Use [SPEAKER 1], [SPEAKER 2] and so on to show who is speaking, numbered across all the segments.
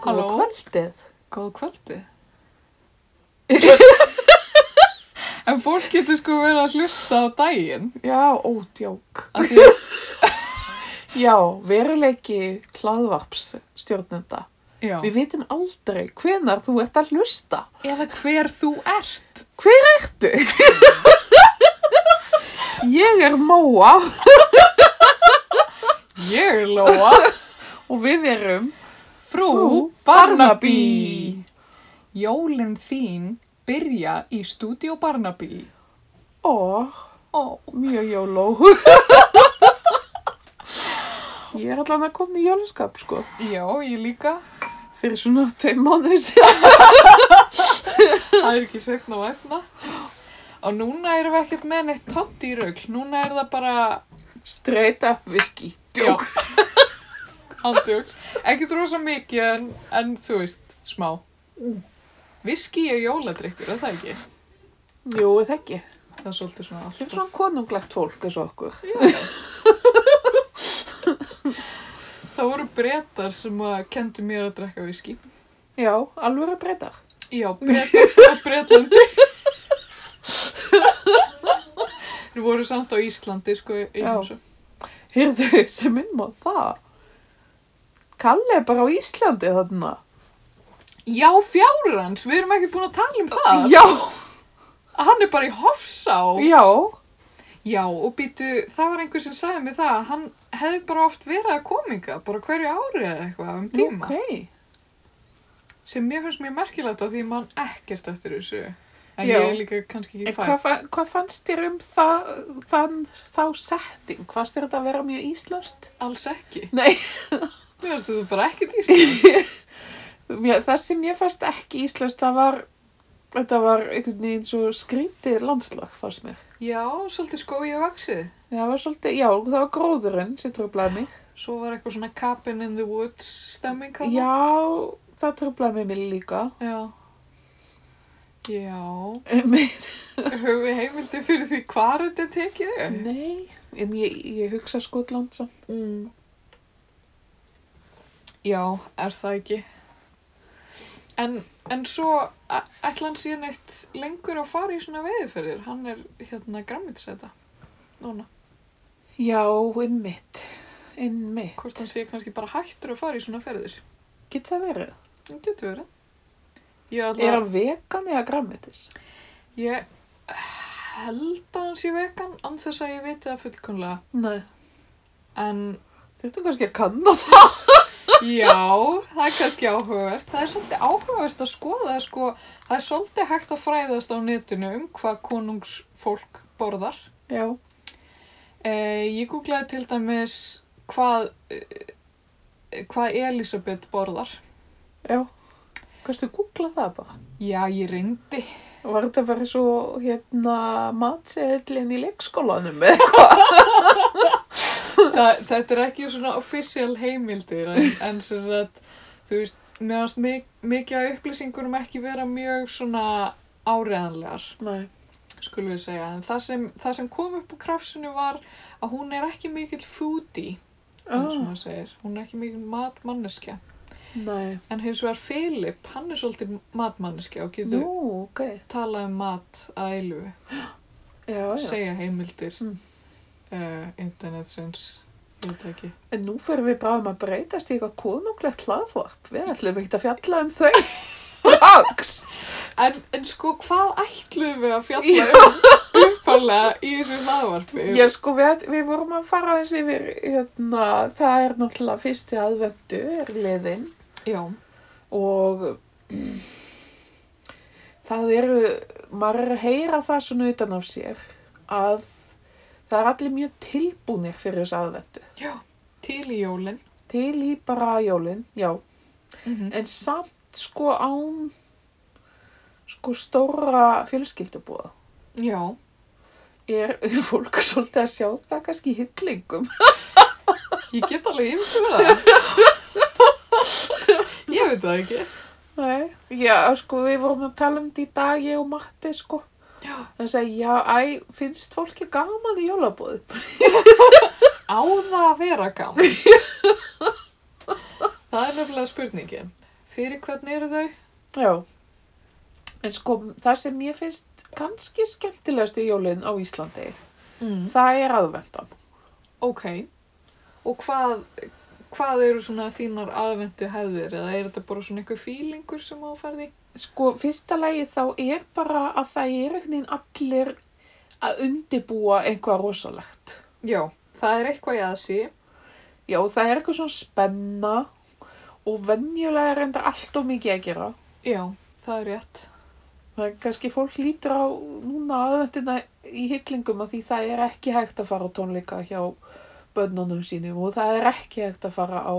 [SPEAKER 1] Góða
[SPEAKER 2] Halló?
[SPEAKER 1] kvöldið.
[SPEAKER 2] Góð kvöldi. en fólk getur sko verið að hlusta á daginn.
[SPEAKER 1] Já, ódjók.
[SPEAKER 2] Af því að,
[SPEAKER 1] Já, veruleiki hlaðvarps stjórnenda.
[SPEAKER 2] já.
[SPEAKER 1] Við vitum aldrei hvenar þú ert að hlusta.
[SPEAKER 2] Eða hver þú ert.
[SPEAKER 1] Hver ertu? Ég er Móa
[SPEAKER 2] Ég er Lóa.
[SPEAKER 1] og við erum
[SPEAKER 2] Frú
[SPEAKER 1] Frú Barnaby.
[SPEAKER 2] Barnaby. Jólin þín byrja í Studio Barnaby.
[SPEAKER 1] og
[SPEAKER 2] Ó,
[SPEAKER 1] mjög jóló. Ég er allan að koma í jólaskap, sko.
[SPEAKER 2] já, ég líka.
[SPEAKER 1] Fyrir svona tveim mánuðið sér.
[SPEAKER 2] Það er ekki segna og efna. Og núna erum við ekkert með neitt tótt í raugl. Núna er það bara
[SPEAKER 1] Straight up viski. Djók.
[SPEAKER 2] Ándjóks. Ekkert rosa mikið en, en þú veist, smá. Viski er jóladrykkur, er það ekki?
[SPEAKER 1] Jú, það ekki.
[SPEAKER 2] Það er svolítið svona
[SPEAKER 1] Þetta er
[SPEAKER 2] alltaf.
[SPEAKER 1] svona konunglegt fólk eins og okkur.
[SPEAKER 2] Það voru bretar sem að kendu mér að drekka viski.
[SPEAKER 1] Já, alveg að breyta.
[SPEAKER 2] Já, bretar frá bretlandi. Þeir voru samt á Íslandi, sko, í
[SPEAKER 1] Já.
[SPEAKER 2] heimsum.
[SPEAKER 1] Heyrðu, sem minn á það. Kalle er bara á Íslandi þarna.
[SPEAKER 2] Já, fjárans, við erum ekki búin að tala um það.
[SPEAKER 1] Já,
[SPEAKER 2] Hann er bara í Hofsá.
[SPEAKER 1] já.
[SPEAKER 2] Já, og býtu, það var einhver sem sagði mér það að hann hefði bara oft verið að kominga, bara hverju ári eða eitthvað um tíma.
[SPEAKER 1] Ok.
[SPEAKER 2] Sem mér finnst mjög merkilegt að því mann ekkert eftir þessu. En
[SPEAKER 1] Já.
[SPEAKER 2] ég er líka kannski
[SPEAKER 1] En
[SPEAKER 2] ekki
[SPEAKER 1] hvað,
[SPEAKER 2] fætt.
[SPEAKER 1] fa- hvað fannst þér um það, þann, þá setting? Fannst þér þetta að vera mjög íslenskt?
[SPEAKER 2] Alls ekki.
[SPEAKER 1] Nei,
[SPEAKER 2] Mér finnst þetta bara ekkert íslenskt.
[SPEAKER 1] mér, það sem ég fannst ekki íslenskt, það var, þetta var einhvern veginn svo skrítið landslag, fannst mér.
[SPEAKER 2] Já, svolítið skói og vaksið.
[SPEAKER 1] Það var svolítið, já, það var gróðurinn sem tröflaði mig.
[SPEAKER 2] Svo var eitthvað svona cabin in the woods stemming hann.
[SPEAKER 1] Já, það tröflaði mig mér líka.
[SPEAKER 2] Já. Já.
[SPEAKER 1] Einmitt.
[SPEAKER 2] Höfum við heimildi fyrir því hvað þetta er tekið upp?
[SPEAKER 1] Nei, en ég, ég hugsa Skotland svo.
[SPEAKER 2] Mm. Já, er það ekki. En, en svo a- ætla hann síðan eitt lengur að fara í svona veiðferðir. Hann er hérna grammitsæta núna.
[SPEAKER 1] Já, einmitt, einmitt.
[SPEAKER 2] Hvort hann sé kannski bara hættur að fara í svona ferðir.
[SPEAKER 1] Getur það verið?
[SPEAKER 2] Það getur verið. Ég,
[SPEAKER 1] Er
[SPEAKER 2] ætla,
[SPEAKER 1] hann vegan eða grammetis?
[SPEAKER 2] ég held að hann sé vegan án þess að ég viti það fullkomlega.
[SPEAKER 1] Nei.
[SPEAKER 2] En
[SPEAKER 1] Þurftum kannski að kanna það.
[SPEAKER 2] Já, það er kannski áhugavert. Það er svolítið áhugavert að skoða, sko, það er svolítið hægt að fræðast á netinu um hvað konungsfólk borðar.
[SPEAKER 1] Já.
[SPEAKER 2] E, ég googlaði til dæmis hvað, e, hvað Elisabeth borðar.
[SPEAKER 1] Já, kannski googla það bara.
[SPEAKER 2] Já, ég reyndi.
[SPEAKER 1] Var þetta bara svo, hérna, matseðlinn í leikskólanum eða?
[SPEAKER 2] Þa, þetta er ekki svona official heimildir, en, en sem sagt, þú veist, meðan mikið af upplýsingunum ekki vera mjög svona áreðanlegar.
[SPEAKER 1] Nei.
[SPEAKER 2] skulum við segja, en það sem, það sem kom upp á krafsinu var að hún er ekki mikill foodie, eins og
[SPEAKER 1] Ah,
[SPEAKER 2] maður segir, hún er ekki mikill matmanneskja,
[SPEAKER 1] nei.
[SPEAKER 2] en hins vegar Filip, hann er svolítið matmanneskja og getur
[SPEAKER 1] Nú, ok.
[SPEAKER 2] talað um mat að eilu,
[SPEAKER 1] Já, já.
[SPEAKER 2] segja heimildir
[SPEAKER 1] Mm.
[SPEAKER 2] uh, internetsins, ég veit það ekki.
[SPEAKER 1] En nú fyrir við bara um að breytast í eitthvað konunglegt hlaðvarp. Við ætlum ekki að fjalla um þau strax.
[SPEAKER 2] En, en sko, hvað ætluðum við að fjalla
[SPEAKER 1] Já.
[SPEAKER 2] um uppálega í þessu maðvarpi?
[SPEAKER 1] Já, sko, við, við vorum að fara aðeins yfir, hérna, það er náttúrulega fyrsti aðvendu er liðin
[SPEAKER 2] Já,
[SPEAKER 1] og það eru, maður er að heyra það svona utan af sér að það er allir mjög tilbúnir fyrir þessu aðvendu.
[SPEAKER 2] til í jólinn.
[SPEAKER 1] Til í bara jólinn, já,
[SPEAKER 2] Mm -hmm.
[SPEAKER 1] en samt sko án sko stóra fjölskyldubúða.
[SPEAKER 2] Já.
[SPEAKER 1] Er fólk svolítið að sjá það kannski í hillingum?
[SPEAKER 2] Ég get alveg ymsið það. ég veit það ekki.
[SPEAKER 1] Nei, já, sko, við vorum að tala um þetta í dag, ég og Matti, sko.
[SPEAKER 2] Já.
[SPEAKER 1] Það segi, já, æ, finnst fólki gaman í jólabóðum?
[SPEAKER 2] Á það að vera gaman? það er nefnilega spurningin. fyrir hvern eru þau?
[SPEAKER 1] Já, en sko það sem mér finnst kannski skemmtilegastu jólin á Íslandi,
[SPEAKER 2] Mm.
[SPEAKER 1] það er aðvendan.
[SPEAKER 2] Ok. Og hvað, hvað eru svona þínar aðvendu hefðir? Eða er þetta bara svona eitthvað fílingur sem þú ferði?
[SPEAKER 1] Sko fyrsta lagi þá er bara að það er einhvern veginn allir að undibúa eitthvað rosalegt.
[SPEAKER 2] Já. Það er eitthvað í aðsi.
[SPEAKER 1] Já, það er eitthvað svona spenna og venjulega er enda allt og mikið að gera.
[SPEAKER 2] Já, það er rétt.
[SPEAKER 1] Það er kannski fólk lítur á núna aðvendina í hillingum að því það er ekki hægt að fara á tónleika hjá bönnunum sínum og það er ekki hægt að fara á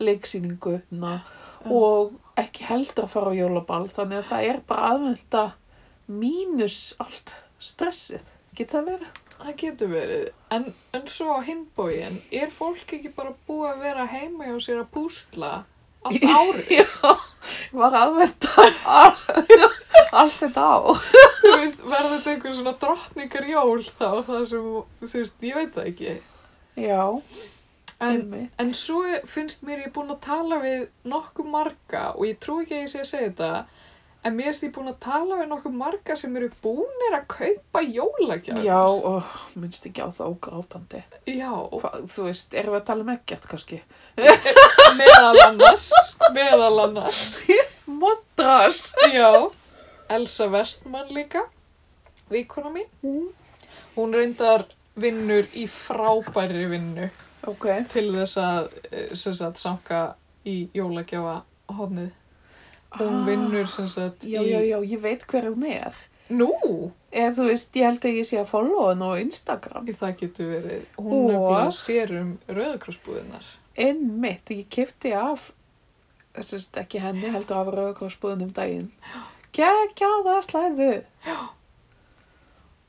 [SPEAKER 1] leiksýninguna
[SPEAKER 2] Já.
[SPEAKER 1] og ekki heldur að fara á jólaball þannig að það er bara aðvenda mínus allt stressið. Geta það verið?
[SPEAKER 2] Það getur verið. En, en svo á hinbógin, er fólk ekki bara búið að vera heima hjá sér að púsla allt árið?
[SPEAKER 1] Já, var aðvenda allt þetta á.
[SPEAKER 2] þú veist, verður þetta einhver svona drottningar jól þá, það sem, þú veist, ég veit það ekki.
[SPEAKER 1] Já,
[SPEAKER 2] En,
[SPEAKER 1] emmi.
[SPEAKER 2] en svo finnst mér ég búin að tala við nokkuð marga og ég trú ekki að ég sé að segja þetta, en mér finnst ég búin að tala við nokkuð marga sem eru búnir að kaupa jólagjafir.
[SPEAKER 1] Já, ó, minnst ekki á það ógrátandi.
[SPEAKER 2] Já, og
[SPEAKER 1] Hva, þú veist, erum við að tala um ekkert kannski?
[SPEAKER 2] meðal annars, meðal annars.
[SPEAKER 1] Mondras!
[SPEAKER 2] Já, Elsa Vestmann líka, vikuna mín.
[SPEAKER 1] Mm.
[SPEAKER 2] Hún reyndar vinnur í frábæri vinnu
[SPEAKER 1] Ok,
[SPEAKER 2] til þess að eh, sem sagt, sanka í jólagjafa hodnið. Hún
[SPEAKER 1] Ah.
[SPEAKER 2] vinnur sem sagt
[SPEAKER 1] já,
[SPEAKER 2] í...
[SPEAKER 1] já, já, ég veit hver hún er.
[SPEAKER 2] Nú,
[SPEAKER 1] Eða þú veist, ég held að ég sé að followa hann á Instagram.
[SPEAKER 2] það getur verið. Hún
[SPEAKER 1] Og-
[SPEAKER 2] nefnilega sér um rauðakrossbúðinar.
[SPEAKER 1] En mitt, ég kefti af, þess að ekki henni heldur af rauðakrossbúðin um daginn. Kekjaða slæðu. Já.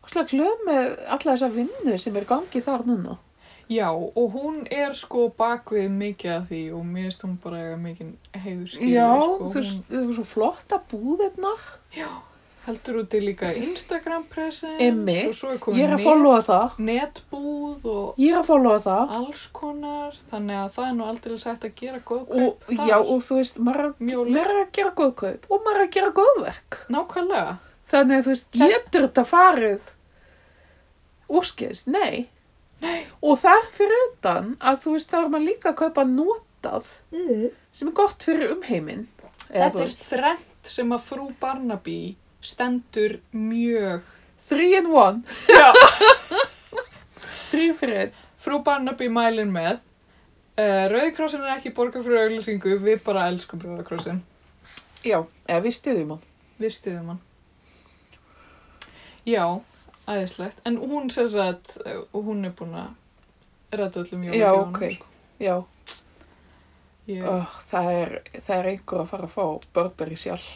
[SPEAKER 1] Úrslega glöð með alla þessa vinnu sem er gangið þar núna.
[SPEAKER 2] Já, og hún er sko bakvið mikið af því og mér finnst hún bara eiga mikið heiður skilur. sko.
[SPEAKER 1] þú veist, þú veist, svo flotta búðirnar.
[SPEAKER 2] Hún heldur út í líka Instagram presence
[SPEAKER 1] Einmitt.
[SPEAKER 2] og svo er komin
[SPEAKER 1] Ég er að followa það.
[SPEAKER 2] netbúð og
[SPEAKER 1] Ég er að followa það.
[SPEAKER 2] alls konar þannig að það er nú aldrei sætt að gera góð
[SPEAKER 1] og,
[SPEAKER 2] kaup þar.
[SPEAKER 1] já, og þú veist, maður er,
[SPEAKER 2] Mjög
[SPEAKER 1] maður er að gera góð kaup og maður er að gera góðverk.
[SPEAKER 2] nákvæmlega
[SPEAKER 1] Þannig að þú veist,
[SPEAKER 2] Það-
[SPEAKER 1] getur þetta farið úrskis? Nei.
[SPEAKER 2] Nei.
[SPEAKER 1] Og það fyrir utan að þú veist, þá er maður líka að kaupa notað
[SPEAKER 2] mm.
[SPEAKER 1] sem er gott fyrir umheiminn. Eða þú
[SPEAKER 2] þetta er
[SPEAKER 1] veist,
[SPEAKER 2] þrennt sem að frú Barnaby stendur mjög
[SPEAKER 1] Three in one,
[SPEAKER 2] já.
[SPEAKER 1] þrý fyrir einn.
[SPEAKER 2] frú Barnaby mælin með uh, Rauðikrossin er ekki borga fyrir auglýsingu við bara elskum Rauðikrossin
[SPEAKER 1] Já, eða við stiðum hann.
[SPEAKER 2] við stiðum hann já, æðislegt en hún sem sagt, eh, hún er búin að ræta öllum
[SPEAKER 1] Já,
[SPEAKER 2] jólagjónum
[SPEAKER 1] ok. Ah. Já,
[SPEAKER 2] ég,
[SPEAKER 1] Ó, það, er, það er einhver að fara að fá Burberry sjálf.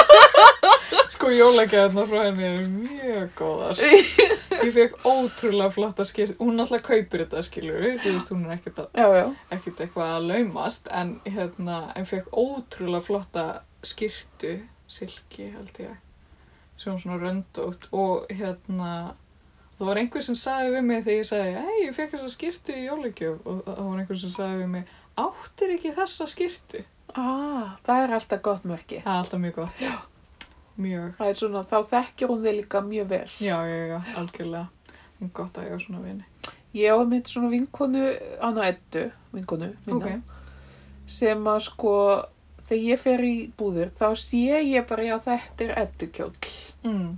[SPEAKER 2] Sko jólagjafna frá henni eru mjög góðar. Ég fekk ótrúlega flotta skýrt. Hún náttúrulega kaupir þetta, skilur við. Þú veist, hún er ekkert, að-
[SPEAKER 1] Já, já.
[SPEAKER 2] ekkert eitthvað að laumast. En hérna, en fekk ótrúlega flotta skýrtu, silki held ég, sem var svona röndótt. Og hérna, það var einhver sem sagði við mig þegar ég sagði, hei, ég fekk þessa skýrtu í jólagjöf. Og það það var einhver sem sagði við mig, áttir ekki þessa skýrtu?
[SPEAKER 1] Ah, það er alltaf gott mörki.
[SPEAKER 2] Það er alltaf mjög gott. Já. Mjög.
[SPEAKER 1] Það er svona, þá þekkir hún þig líka mjög vel.
[SPEAKER 2] Já, já, já, algjörlega. En Gott að ég var svona vini.
[SPEAKER 1] Ég var mitt svona vinkonu, Anna Eddu, vinkonu minna, sem að sko, þegar ég fer í búðir, þá sé ég bara, já, þetta er Eddu kjóll.
[SPEAKER 2] Mm.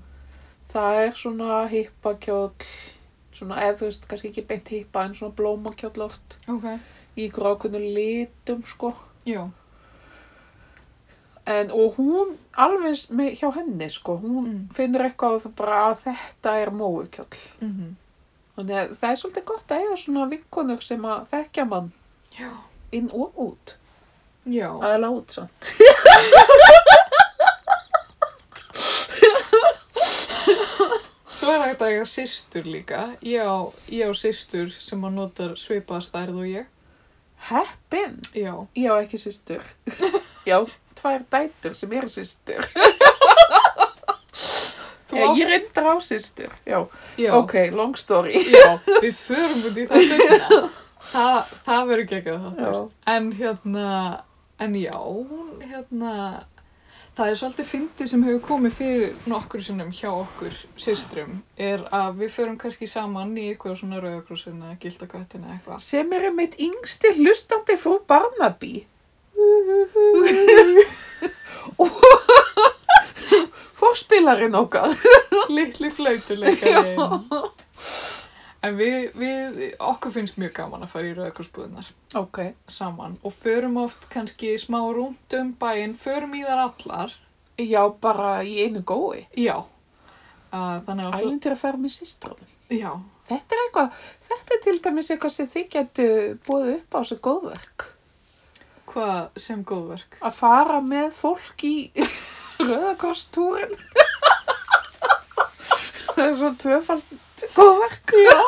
[SPEAKER 1] Það er svona hippa kjóll, svona, eða þú veist, kannski ekki beint hippa, en svona blóma kjóll oft,
[SPEAKER 2] Ok.
[SPEAKER 1] í ykkur ákveðnu litum, sko.
[SPEAKER 2] Já.
[SPEAKER 1] En, og hún, alveg eins með, hjá henni, sko, hún
[SPEAKER 2] Mm.
[SPEAKER 1] finnur eitthvað og það bara að þetta er móu kjóll.
[SPEAKER 2] Mm
[SPEAKER 1] Þannig að það er svolítið gott að eiga svona vinkonur sem að þekkja mann
[SPEAKER 2] Já.
[SPEAKER 1] inn og út.
[SPEAKER 2] Já.
[SPEAKER 1] Aðalega út samt.
[SPEAKER 2] Svo er hægt að ég er sýstur líka. Ég á, ég á sýstur sem að notar svipaða stærð og ég.
[SPEAKER 1] Heppin!
[SPEAKER 2] Já.
[SPEAKER 1] Ég á ekki systur. Já, tvær dætur sem eru systur.
[SPEAKER 2] Þú
[SPEAKER 1] Já,
[SPEAKER 2] átt-
[SPEAKER 1] ég reyndar á systur. Já,
[SPEAKER 2] Já.
[SPEAKER 1] ok, long story.
[SPEAKER 2] Já, við förum út í það seinna. Það, það verður ekki ekki að
[SPEAKER 1] Já.
[SPEAKER 2] þetta. En hérna, En já, hún hérna, það er svolítið fyndið sem hefur komið fyrir nokkur sinnum hjá okkur systrum er að við förum kannski saman í eitthvað svona rauðakrúsin eða gildaköttin eða eitthvað.
[SPEAKER 1] sem eru mitt yngsti hlustandi frú Barnaby og fórspilarinn okkar
[SPEAKER 2] Litli flautuleikarinn. En við, við, okkur finnst mjög gaman að fara í rauðakrúsbúðunar
[SPEAKER 1] ok,
[SPEAKER 2] saman og förum oft kannski smá rúnt um bæinn, förum í þar allar.
[SPEAKER 1] já bara í einu gói
[SPEAKER 2] Já. Uh, þannig að...
[SPEAKER 1] ælindir að fara með sýstrónum
[SPEAKER 2] Já.
[SPEAKER 1] þetta er eitthvað, þetta er til dæmis eitthvað sem þið getu búið upp á þessu góðverk
[SPEAKER 2] Hvað sem góðverk?
[SPEAKER 1] að fara með fólk í rauðakostúrin það er svo tvöfald góðverk já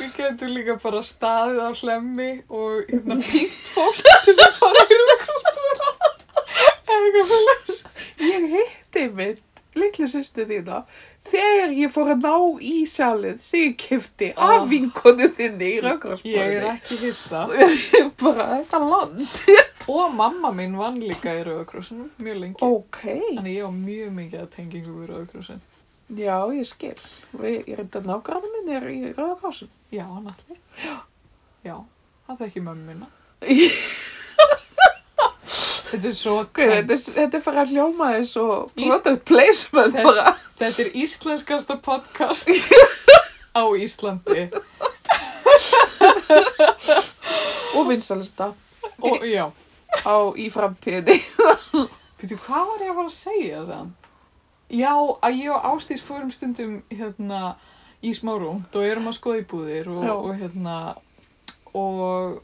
[SPEAKER 2] Við getum líka bara staðið á hlemmi og hérna pínt fólk til þess að fara í rökkvarsbúra. Eða eitthvað fyrir þess.
[SPEAKER 1] Ég hitti mitt, litlu sýstu þína, þegar ég fór að ná í salið sem ég kefti
[SPEAKER 2] Ah.
[SPEAKER 1] af vinkonu þinni í
[SPEAKER 2] Ég er
[SPEAKER 1] rauðgráðsbóðinni.
[SPEAKER 2] ekki hissa.
[SPEAKER 1] bara þetta land.
[SPEAKER 2] Og mamma mín vann líka í rökkvarsunum mjög lengi.
[SPEAKER 1] Ok,
[SPEAKER 2] Þannig ég á mjög mikið að tengingu við rökkvarsun.
[SPEAKER 1] já ég skil. Við- Ég reynda nágrannu minn er í rauðgráðsum.
[SPEAKER 2] Já, náttúrulega. Já, það þekki mömmu minna. Þetta er svo
[SPEAKER 1] Ok, þetta,
[SPEAKER 2] kvænt.
[SPEAKER 1] er- þetta er bara að hljóma eins og product placement bara.
[SPEAKER 2] Þetta er íslenskasta podcast á Íslandi.
[SPEAKER 1] Og vinsalista
[SPEAKER 2] Og já,
[SPEAKER 1] á í framtíðinni.
[SPEAKER 2] Býtu, hvað var ég að fara að segja það? Já, að ég og Ástís fórum stundum hérna í smá rúnd og erum að skoða í búðir og,
[SPEAKER 1] Já.
[SPEAKER 2] og hérna og,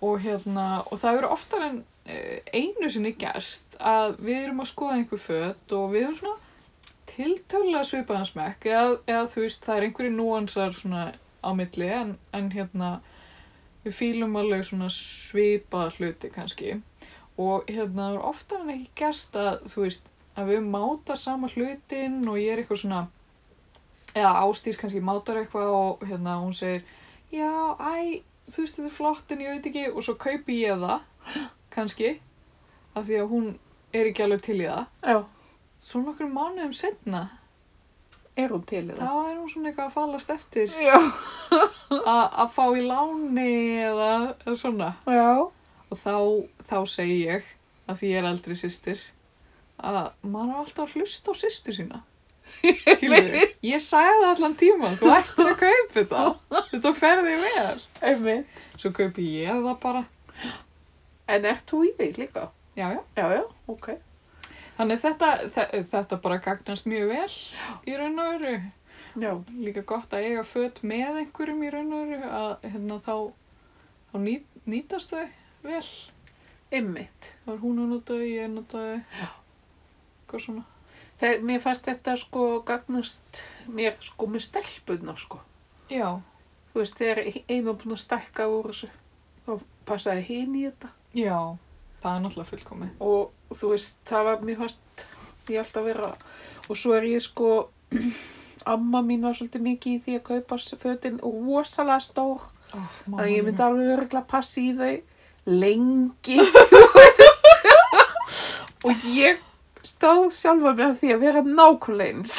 [SPEAKER 2] og hérna og það eru oftar en eh, einu sinni gerst að við erum að skoða einhver föt og við erum svona tiltölulega svipaðan smekk eða, eða þú veist það er einhverju núansar svona á milli en, en hérna við fýlum alveg svona svipaða hluti kannski og hérna það er oftar en ekki gerst að þú veist að við máta sama hlutin og ég er eitthvað svona eða Ástís kannski mátar eitthvað og hérna hún segir já, æ, þú veist þetta er flott en ég veit ekki og svo kaupi ég það kannski af því að hún er ekki alveg til í það
[SPEAKER 1] Já,
[SPEAKER 2] svo nokkur mánuðum setna
[SPEAKER 1] er hún til í
[SPEAKER 2] þá
[SPEAKER 1] það?
[SPEAKER 2] er hún svona eitthvað að falast eftir
[SPEAKER 1] Já.
[SPEAKER 2] að að fá í láni eða, eða svona
[SPEAKER 1] Já,
[SPEAKER 2] Og þá, þá segi ég, að því ég er eldri sýstir, að maður er alltaf að hlusta á sýstur sína. Skilurðu? ég sagði það allan tíman, þú ættir að kaupi þetta. Þetta ferði vel.
[SPEAKER 1] einmitt.
[SPEAKER 2] Svo kaupi ég það bara.
[SPEAKER 1] En ert þú í því líka?
[SPEAKER 2] Já, já.
[SPEAKER 1] Já, já, ok.
[SPEAKER 2] Þannig þetta, þe- þetta bara gagnast mjög vel í raun og öru.
[SPEAKER 1] Já.
[SPEAKER 2] Líka gott að eiga fött með einhverjum í raun og öru að hérna, þá, þá ný, nýtast þau vel.
[SPEAKER 1] Einmitt.
[SPEAKER 2] Það er hún að nota þau, ég að nota þau. Hvað svona?
[SPEAKER 1] Það, mér fannst þetta sko gagnast mér sko með stelpunar sko.
[SPEAKER 2] Já.
[SPEAKER 1] Þú veist, þegar einu var búin að stækka úr þessu, þá passaði hinn í þetta.
[SPEAKER 2] Já, það er náttúrulega fullkomið.
[SPEAKER 1] Og þú veist, það var mér fannst, ég held að vera. Og svo er ég sko, amma mín var svolítið mikið í því að kaupa fötin rosalega stór.
[SPEAKER 2] Oh,
[SPEAKER 1] að ég myndi
[SPEAKER 2] að...
[SPEAKER 1] alveg örgulega passa í þau lengi þú veist. og ég stóð sjálfa mig að því að vera nákvæmlega eins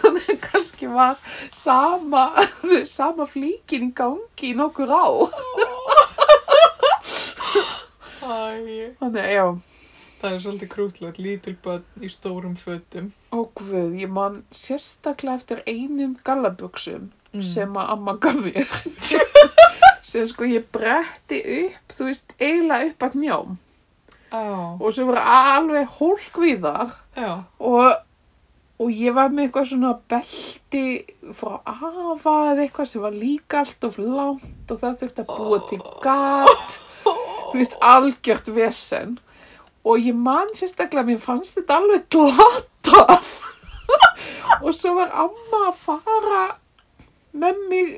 [SPEAKER 1] þannig að kannski var sama, sama flíkin í gangi í nokkur á
[SPEAKER 2] Æ,
[SPEAKER 1] þannig að já,
[SPEAKER 2] það er svolítið krútlegt, lítil börn í stórum fötum.
[SPEAKER 1] ógvöð ég man sérstaklega eftir einum gallabuxum
[SPEAKER 2] Mm.
[SPEAKER 1] sem að amma gaf mér sem sko ég bretti upp þú veist, eiginlega upp að njám
[SPEAKER 2] Já,
[SPEAKER 1] og sem voru alveg hólkvíðar
[SPEAKER 2] já,
[SPEAKER 1] og, og ég var með eitthvað svona belti frá afa eða eitthvað sem var líka allt of langt og það þurfti að búa til gat þú veist algjört vesen og ég man sérstaklega að mér fannst þetta alveg glata og svo var amma að fara með mig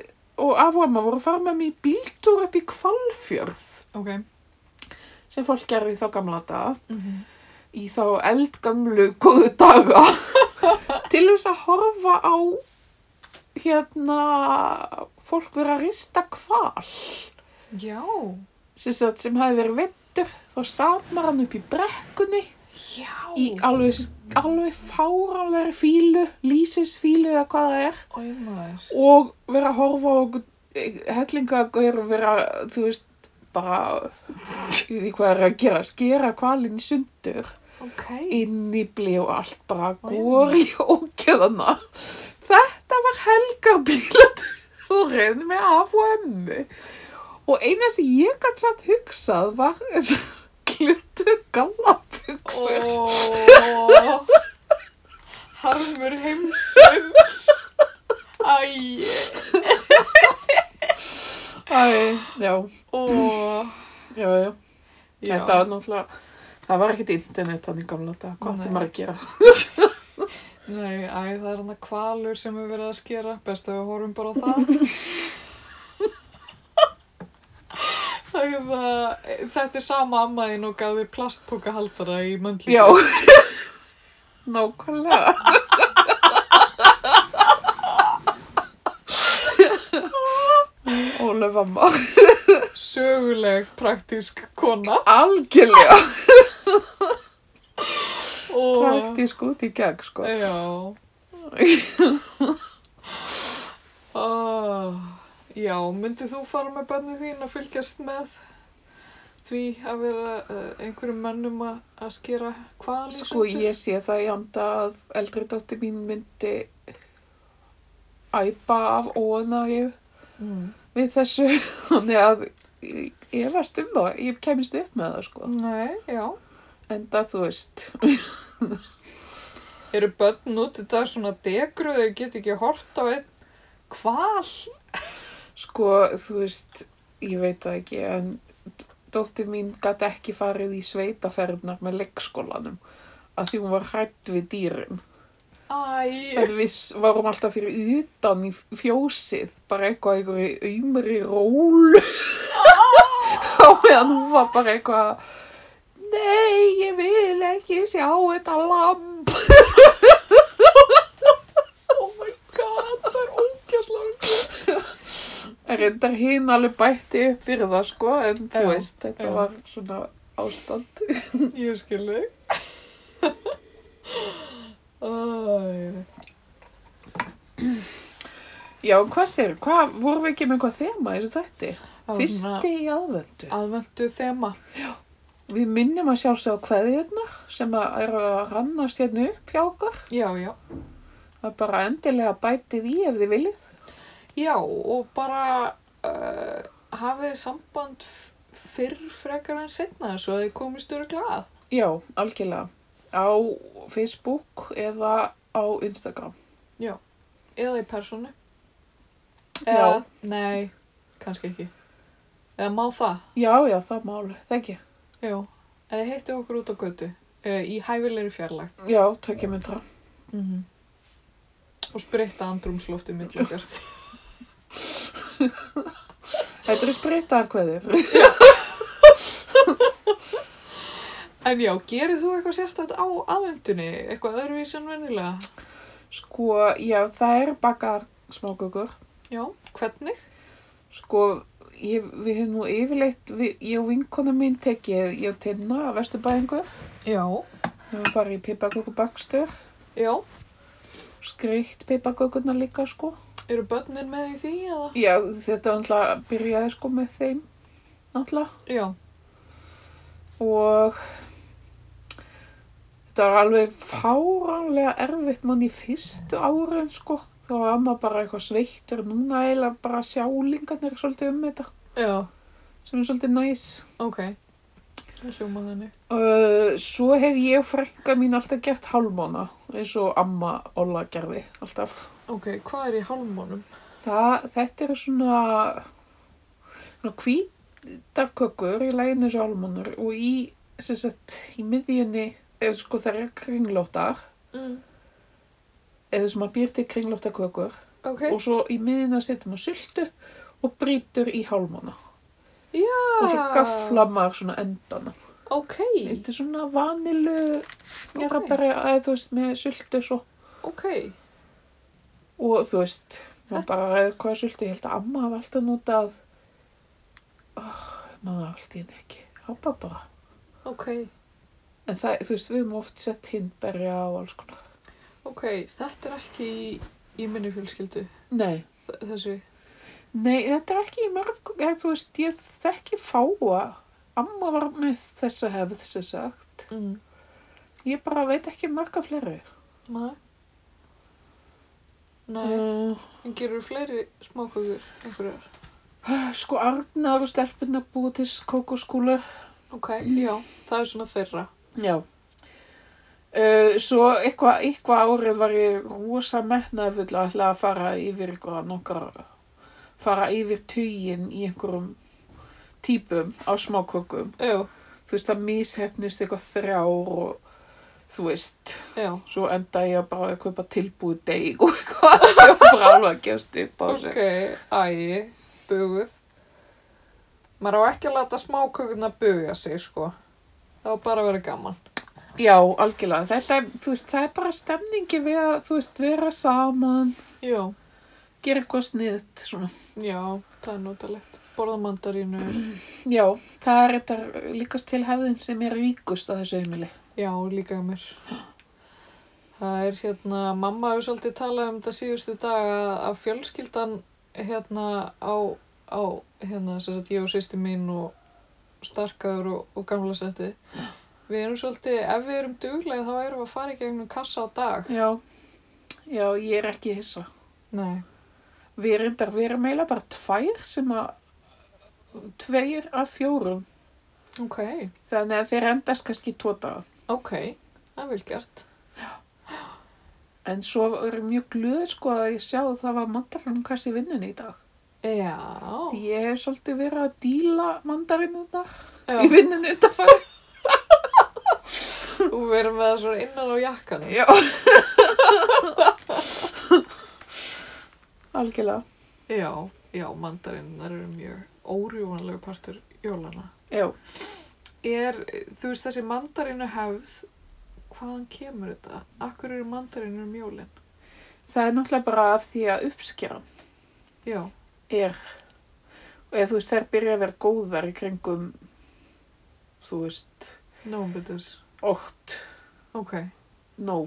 [SPEAKER 1] og aframma voru að fara með mig í bíltúr upp í Kvalfjörð
[SPEAKER 2] ok.
[SPEAKER 1] sem fólk gerði þá gamla daga
[SPEAKER 2] Mm -hmm.
[SPEAKER 1] í þá eldgamlu góðu daga til þess að horfa á hérna fólk vera að rista kval
[SPEAKER 2] Já,
[SPEAKER 1] sem, sagt, sem hafi verið vindur þá samar hann upp í brekkunni
[SPEAKER 2] Já.
[SPEAKER 1] í alveg, alveg fárálegri fílu, lýsisfílu eða hvað það er
[SPEAKER 2] Ói maður.
[SPEAKER 1] og vera að horfa á hellingagauður og vera, þú veist, bara ég veit ekki hvað er að gera, skera kvalinn í sundur
[SPEAKER 2] Ok.
[SPEAKER 1] inn í blí og allt bara
[SPEAKER 2] Ó, já.
[SPEAKER 1] góri og geðana þetta var helgar bílatúrin með af og emmu og eina sem ég gætt satt hugsað var eins og glutu gallabuxur
[SPEAKER 2] Ó. Harmur heimsins. Æ.
[SPEAKER 1] Æ, já,
[SPEAKER 2] Ó.
[SPEAKER 1] já, já þetta var náttúrulega það var ekkert internet hann í gamla dag hvað
[SPEAKER 2] Nei.
[SPEAKER 1] átti maður að gera
[SPEAKER 2] Nei, æ, það er hann að kvalur sem við verið að skera. Best að við horfum bara á það. Æ, það, þetta er sama ammaðin og gaf þér plastpokahaldara í möndlíku.
[SPEAKER 1] já nákvæmlega Ólef amma
[SPEAKER 2] Söguleg, praktísk kona.
[SPEAKER 1] algjörlega
[SPEAKER 2] Og...
[SPEAKER 1] praktísk út í gegn sko
[SPEAKER 2] Já. oh, já, myndið þú fara með bönnið þín að fylgjast með því að vera uh, einhverjum mönnum að, að skera hvaðan
[SPEAKER 1] sko ég sé það í anda að eldri dóttir mín myndi æpa af óanægju
[SPEAKER 2] Mm.
[SPEAKER 1] við þessu þannig að ég ég varst um það, ég kemist upp með það sko
[SPEAKER 2] Nei, já.
[SPEAKER 1] en það þú veist
[SPEAKER 2] Eru börn út í dag svona degru þau get ekki hort á einn hval?
[SPEAKER 1] sko þú veist, ég veit það ekki en d- dóttir mín gæti ekki farið í sveitaferðnar með leikskólanum að því hún var hrætt við dýrum
[SPEAKER 2] Æ.
[SPEAKER 1] En við s- vorum alltaf fyrir utan í fjósið, bara eitthvað einhverju auðmri ról. Þá meðan hún var bara eitthvað, nei, ég vil ekki sjá þetta lamp.
[SPEAKER 2] Oh my god, það er ógæslega.
[SPEAKER 1] En Reyndar hinn alveg bætti upp fyrir það, sko, en þú
[SPEAKER 2] Já,
[SPEAKER 1] veist, þetta
[SPEAKER 2] já.
[SPEAKER 1] var svona ástand.
[SPEAKER 2] Ég skil þig. Æ.
[SPEAKER 1] Já, en hvað sér, hvað, vorum við ekki með eitthvað þema í þessu þætti?
[SPEAKER 2] Það var svona-
[SPEAKER 1] Fyrsti í aðvendu.
[SPEAKER 2] aðvendu þema.
[SPEAKER 1] Við minnum að sjálfsögja kveðjurnar sem að eru að rannast hérna upp hjá okkar.
[SPEAKER 2] Já, já.
[SPEAKER 1] Það er bara endilega bætið í ef þið viljið.
[SPEAKER 2] Já, og bara uh, hafið samband f- fyrr frekar en setna svo að þið komist eru glað.
[SPEAKER 1] Já, algjörlega. Á Facebook eða á Instagram.
[SPEAKER 2] Eða í persónu.
[SPEAKER 1] Já.
[SPEAKER 2] Eða, nei, kannski ekki. Eða má það,
[SPEAKER 1] Já, já, það máli. Það ekki.
[SPEAKER 2] já. Eða heitti okkur út á götu. Uh, í hæfilegri fjarlægt.
[SPEAKER 1] Já, tökja myndra.
[SPEAKER 2] Mm -hmm. Og spritta andrumslofti mitt okkar.
[SPEAKER 1] Þetta eru spritaðar kveður.
[SPEAKER 2] En já, gerir þú eitthvað sérstætt á aðvendunni? Eitthvað öðruvís en venjulega?
[SPEAKER 1] Sko, já, það eru bakaðar smákökur.
[SPEAKER 2] Já, hvernig?
[SPEAKER 1] Sko, ég, við höfum nú yfirleitt, við, ég og vinkona mín tekið, ég og Tinna, vesturbæðingur.
[SPEAKER 2] Já.
[SPEAKER 1] Við höfum bara í pipakökubakstur.
[SPEAKER 2] Já,
[SPEAKER 1] Skreitt pipakökurna líka, sko.
[SPEAKER 2] eru börnin með í því eða?
[SPEAKER 1] Já, þetta náttúrulega byrjaði sko með þeim, náttúrulega.
[SPEAKER 2] Já.
[SPEAKER 1] og þetta var alveg fáránlega erfitt mann í fyrstu árin sko þá var maður bara eitthvað sveittur núna eiginlega bara sjálingarnir svolítið um þetta
[SPEAKER 2] Já,
[SPEAKER 1] sem er svolítið næs
[SPEAKER 2] ok. Það hljóma þannig.
[SPEAKER 1] uh, svo hef ég og frænka mín alltaf gert hálmána eins og amma Olla gerði alltaf
[SPEAKER 2] Ok, hvað er í hálmónum?
[SPEAKER 1] Það, þetta eru svona, svona hvítarkökur í læginu þessu álmónur og í, sem sagt, í miðjunni, eða sko það eru kringlóttar,
[SPEAKER 2] Mm.
[SPEAKER 1] eða sem að býr til kringlóttakökur
[SPEAKER 2] Ok,
[SPEAKER 1] og svo í miðjunna setjum maður sultu og brýtur í hálmóna
[SPEAKER 2] já.
[SPEAKER 1] og svo gafla maður svona endana.
[SPEAKER 2] Ok,
[SPEAKER 1] Þetta er svona vanilu, ég
[SPEAKER 2] Ok.
[SPEAKER 1] eða þú veist, með sultu svo
[SPEAKER 2] ok.
[SPEAKER 1] og þú veist maður bara ræður hvað sultu, ég held að amma hafa alltaf notað oh, man það allt í henni ekki. Rabba bara.
[SPEAKER 2] Ok,
[SPEAKER 1] En það, þú veist, við höfum oft sett hindberja og alls konar.
[SPEAKER 2] ok, þetta er ekki í, í minni fjölskyldu,
[SPEAKER 1] Nei,
[SPEAKER 2] þ- þessi.
[SPEAKER 1] nei, þetta er ekki í mörg, ég, þú veist, ég þekki fáa. Amma var með þessa hefð, sem sagt.
[SPEAKER 2] Mm.
[SPEAKER 1] Ég bara veit ekki mörga fleiri.
[SPEAKER 2] Nei. Nei,
[SPEAKER 1] Uh,
[SPEAKER 2] en gerur fleiri smákökur einhverjar?
[SPEAKER 1] sko, Arnar og stelpunna búið til kókoskúla.
[SPEAKER 2] Ok, já, það er svona þeirra.
[SPEAKER 1] Já. Uh, svo eitthvað eitthva árið var ég rosa metnaðfull að ætla að fara yfir eitthvað nokkar, fara yfir tugin í einhverjum típum á smákökum.
[SPEAKER 2] Já,
[SPEAKER 1] Þú veist, það mishefnist eitthvað þrjár og þú veist,
[SPEAKER 2] já,
[SPEAKER 1] svo enda ég bara að kaupa tilbúið deg og eitthvað. Ég var bara alveg að gefst upp á sig.
[SPEAKER 2] ok, ægi, buguð. Maður á ekki að láta smákökurna buga sig, sko. Það var bara að vera gaman.
[SPEAKER 1] Já, algjörlega. Þetta, er- þú veist, það er bara stemningi við að, þú veist, vera saman,
[SPEAKER 2] Já,
[SPEAKER 1] gera eitthvað sniðt, svona.
[SPEAKER 2] já, það er notalegt. Borða mandarínu,
[SPEAKER 1] Já, það er þetta líkast til hefðin sem er ríkust á þessu heimili.
[SPEAKER 2] já, líka mér. Það er hérna, mamma hefur svolítið talað um þetta síðustu dag að, að fjölskyldan hérna á, á hérna, sem sagt, ég og sýsti mín og starkaður og, og gamla settið. Við erum svolítið, ef við erum duglega þá erum við að fara í gegnum kassa á dag.
[SPEAKER 1] Já, já, ég er ekki hissa.
[SPEAKER 2] Nei.
[SPEAKER 1] Við erum þar, við erum eiginlega bara tvær sem að, tveir af fjórum.
[SPEAKER 2] Ok,
[SPEAKER 1] Þannig að þeir endast kannski tvo daga.
[SPEAKER 2] ok, það er vel gert.
[SPEAKER 1] En svo er ég mjög glöð sko að ég sjá að það var mandarinum kassi vinnunni í dag.
[SPEAKER 2] Já.
[SPEAKER 1] Því Ég hef svolítið verið að díla mandarinunar
[SPEAKER 2] Já,
[SPEAKER 1] í vinnunni undanfæri.
[SPEAKER 2] og við erum með það svona innan á jakkanum.
[SPEAKER 1] Já. Algjörlega.
[SPEAKER 2] Já, já, mandarinnar eru mjög órjúvanlegu partur jólana.
[SPEAKER 1] Já.
[SPEAKER 2] er, þú veist, þessi mandarinu hefð, hvaðan kemur þetta? Akkur eru um mandarinu mjólin?
[SPEAKER 1] Það er náttúrulega bara af því að uppskjara
[SPEAKER 2] Já,
[SPEAKER 1] er eða þú veist þær byrja að vera góðar í kringum þú veist
[SPEAKER 2] nómbyttis.
[SPEAKER 1] 8,
[SPEAKER 2] Ok,
[SPEAKER 1] 9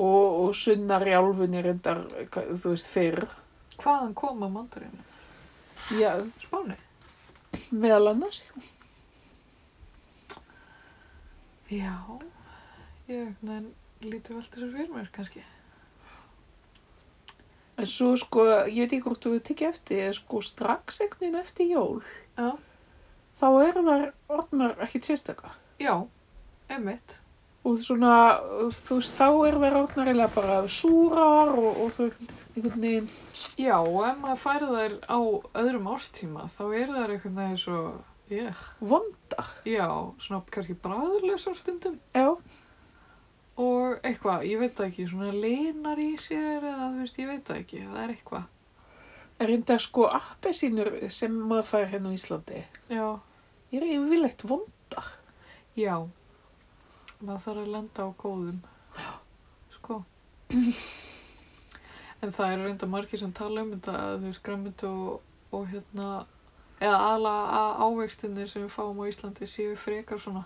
[SPEAKER 1] og, og sunnar í álfunni reyndar þú veist fyrr
[SPEAKER 2] hvaðan koma mandarinu?
[SPEAKER 1] Já,
[SPEAKER 2] Spáni?
[SPEAKER 1] meðal annars já.
[SPEAKER 2] Já, ég neðan lítið velt þessu fyrir mér kannski.
[SPEAKER 1] en svo sko, ég veit ekki hvort þú veit ekki eftir en sko strax einhvern veginn eftir jól
[SPEAKER 2] Já,
[SPEAKER 1] þá eru þar orðnar ekkit sérstaka
[SPEAKER 2] já, emmitt.
[SPEAKER 1] og svona, þú veist, þá eru þær orðnar eiginlega bara súrar og, og þú veist, einhvern veginn
[SPEAKER 2] Já, og ef maður færi þær á öðrum ástíma, þá eru þær einhvern veginn svo, ég,
[SPEAKER 1] vondar
[SPEAKER 2] já, svona kannski bræðurlausar stundum.
[SPEAKER 1] já,
[SPEAKER 2] Og eitthvað, ég veit það ekki, svona linar í sér eða þú veist, ég veit það ekki, það er eitthvað.
[SPEAKER 1] Reynda sko appelsínur sem maður fær hérna á Íslandi
[SPEAKER 2] Já,
[SPEAKER 1] er yfirleitt vondar.
[SPEAKER 2] já, maður þarf að lenda á góðum, sko. En það eru reynda margir sem tala um þetta að þau skræmmet og, og hérna, eða aðla ávegstinir sem við fáum á Íslandi séu frekar svona.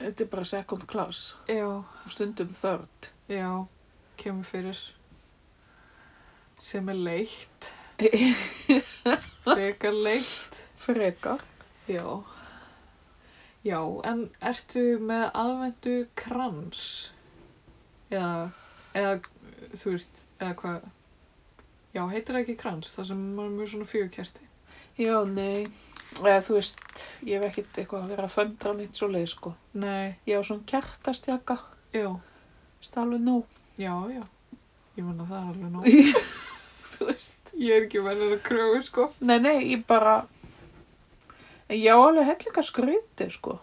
[SPEAKER 1] Þetta er bara second class
[SPEAKER 2] Já,
[SPEAKER 1] og stundum third.
[SPEAKER 2] já, kemur fyrir sem er leitt, frekar leitt.
[SPEAKER 1] Frekar.
[SPEAKER 2] Já. Já, en ertu með aðvendu krans? Eða, eða, þú veist, eða hvað? Já, heitir það ekki krans, það sem maður er mjög svona fjögkerti.
[SPEAKER 1] Já, nei. Eða, þú veist, ég hef ekkert eitthvað að vera að föndra nýtt svo leið sko.
[SPEAKER 2] Nei,
[SPEAKER 1] Ég á svona kjartastjaka,
[SPEAKER 2] já,
[SPEAKER 1] stálu nú.
[SPEAKER 2] já, já. Ég menna það er alveg nóg.
[SPEAKER 1] þú veist.
[SPEAKER 2] Ég er ekki verið að kröfu, sko.
[SPEAKER 1] Nei, nei, ég bara... En Ég á alveg hellinga skrýti sko.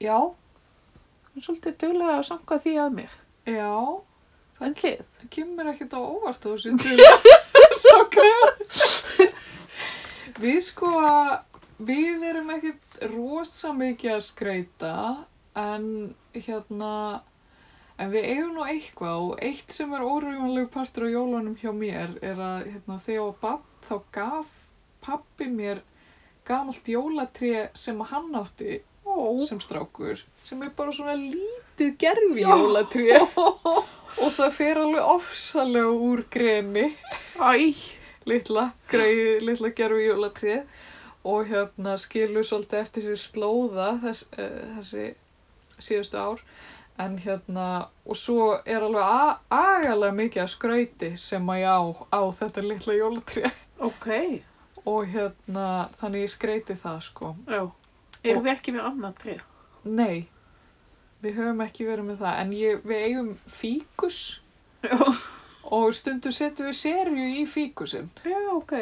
[SPEAKER 2] Já,
[SPEAKER 1] Hún er svolítið duglega að sanga því að mér.
[SPEAKER 2] já,
[SPEAKER 1] En þið?
[SPEAKER 2] það kemur ekkert á óvart á þessu til. Svo kröfu. Við sko, við erum ekkert rosa mikið að skreita en hérna, en við eigum nú eitthvað og eitt sem er órjúmanlegu partur á jólunum hjá mér er að hérna, þegar ég var bann þá gaf pappi mér gamalt jólatré sem að hann átti
[SPEAKER 1] Ó,
[SPEAKER 2] sem strákur sem er bara svona lítið gerfi jólatré og það fer alveg ofsalega úr greni
[SPEAKER 1] æ,
[SPEAKER 2] litla, greið, litla gerfi jólatrið og hérna skilur svolítið eftir sér slóða þess, uh, þessi síðustu ár en hérna og svo er alveg a- agalega mikið að skrauti sem að ég á, á þetta litla jólatrið
[SPEAKER 1] ok,
[SPEAKER 2] og hérna þannig ég skreiti það sko
[SPEAKER 1] já. Eru þið ekki með annað tré?
[SPEAKER 2] nei, við höfum ekki verið með það en ég, við eigum fíkus
[SPEAKER 1] Já,
[SPEAKER 2] og stundum setjum við serju í fíkusinn
[SPEAKER 1] já, ok.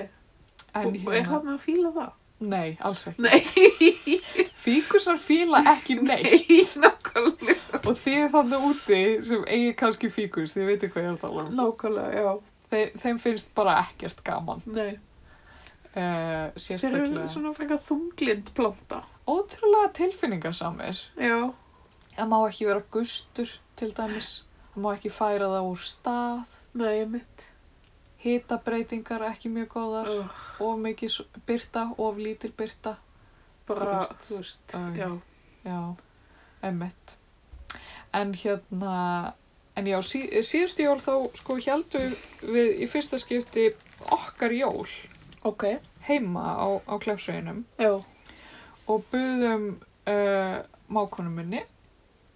[SPEAKER 2] en
[SPEAKER 1] Og er
[SPEAKER 2] hérna,
[SPEAKER 1] hann að fíla það?
[SPEAKER 2] nei, alls ekki
[SPEAKER 1] Nei,
[SPEAKER 2] fíkusar fíla ekki neitt
[SPEAKER 1] nákvæmlega.
[SPEAKER 2] Og þið þannig úti sem eigi kannski fíkus, þið veitir hvað ég er að tala um.
[SPEAKER 1] Nákvæmlega, já,
[SPEAKER 2] Þe, þeim finnst bara ekkert gaman,
[SPEAKER 1] nei.
[SPEAKER 2] uh,
[SPEAKER 1] Þeir eru
[SPEAKER 2] sérstaklega.
[SPEAKER 1] svona frekar þunglind planta.
[SPEAKER 2] Ótrúlega tilfinningasamir.
[SPEAKER 1] Já,
[SPEAKER 2] Það má ekki vera gustur til dæmis, það má ekki færa það úr stað,
[SPEAKER 1] nei, mitt.
[SPEAKER 2] hitabreytingar ekki mjög góðar,
[SPEAKER 1] Ugh.
[SPEAKER 2] of mikið s- birta, of lítil birta.
[SPEAKER 1] Bara,
[SPEAKER 2] Þú
[SPEAKER 1] þú veist,
[SPEAKER 2] Æ.
[SPEAKER 1] já.
[SPEAKER 2] Já, emmett. En hérna, en já, sí, síðustu jól þá sko heldum við í fyrsta skipti okkar jól
[SPEAKER 1] Ok,
[SPEAKER 2] heima á, á Kleppsveginum
[SPEAKER 1] já,
[SPEAKER 2] og buðum uh, mákonum minni,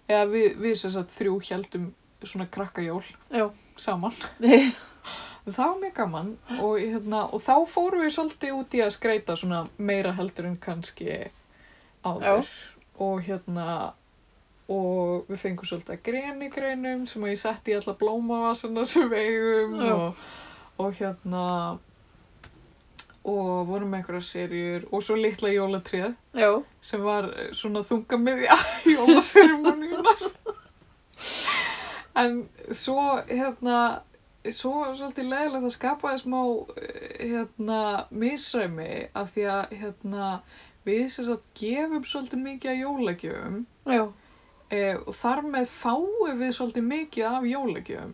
[SPEAKER 2] eða við, við sem sagt þrjú heldum svona krakkajól
[SPEAKER 1] já.
[SPEAKER 2] saman. Það var mjög gaman og, hérna, og þá fórum við svolítið út í að skreita svona meira heldur en kannski áður og hérna og við fengum svolítið að greni greinum sem ég sett í alla blómavasana sem við eigum
[SPEAKER 1] Já.
[SPEAKER 2] og, og hérna og vorum með einhverja serjur og svo litla jólatrið
[SPEAKER 1] já,
[SPEAKER 2] sem var eh, svona þunga miðja jólaserimóniunar. en svo, hérna, svo var svolítið leðilegt að skapaði smá, eh, hérna, misræmi af því að, hérna, við sem sagt gefum svolítið mikið af jólagjöfum
[SPEAKER 1] já.
[SPEAKER 2] eh, og þar með fáum við svolítið mikið af jólagjöfum.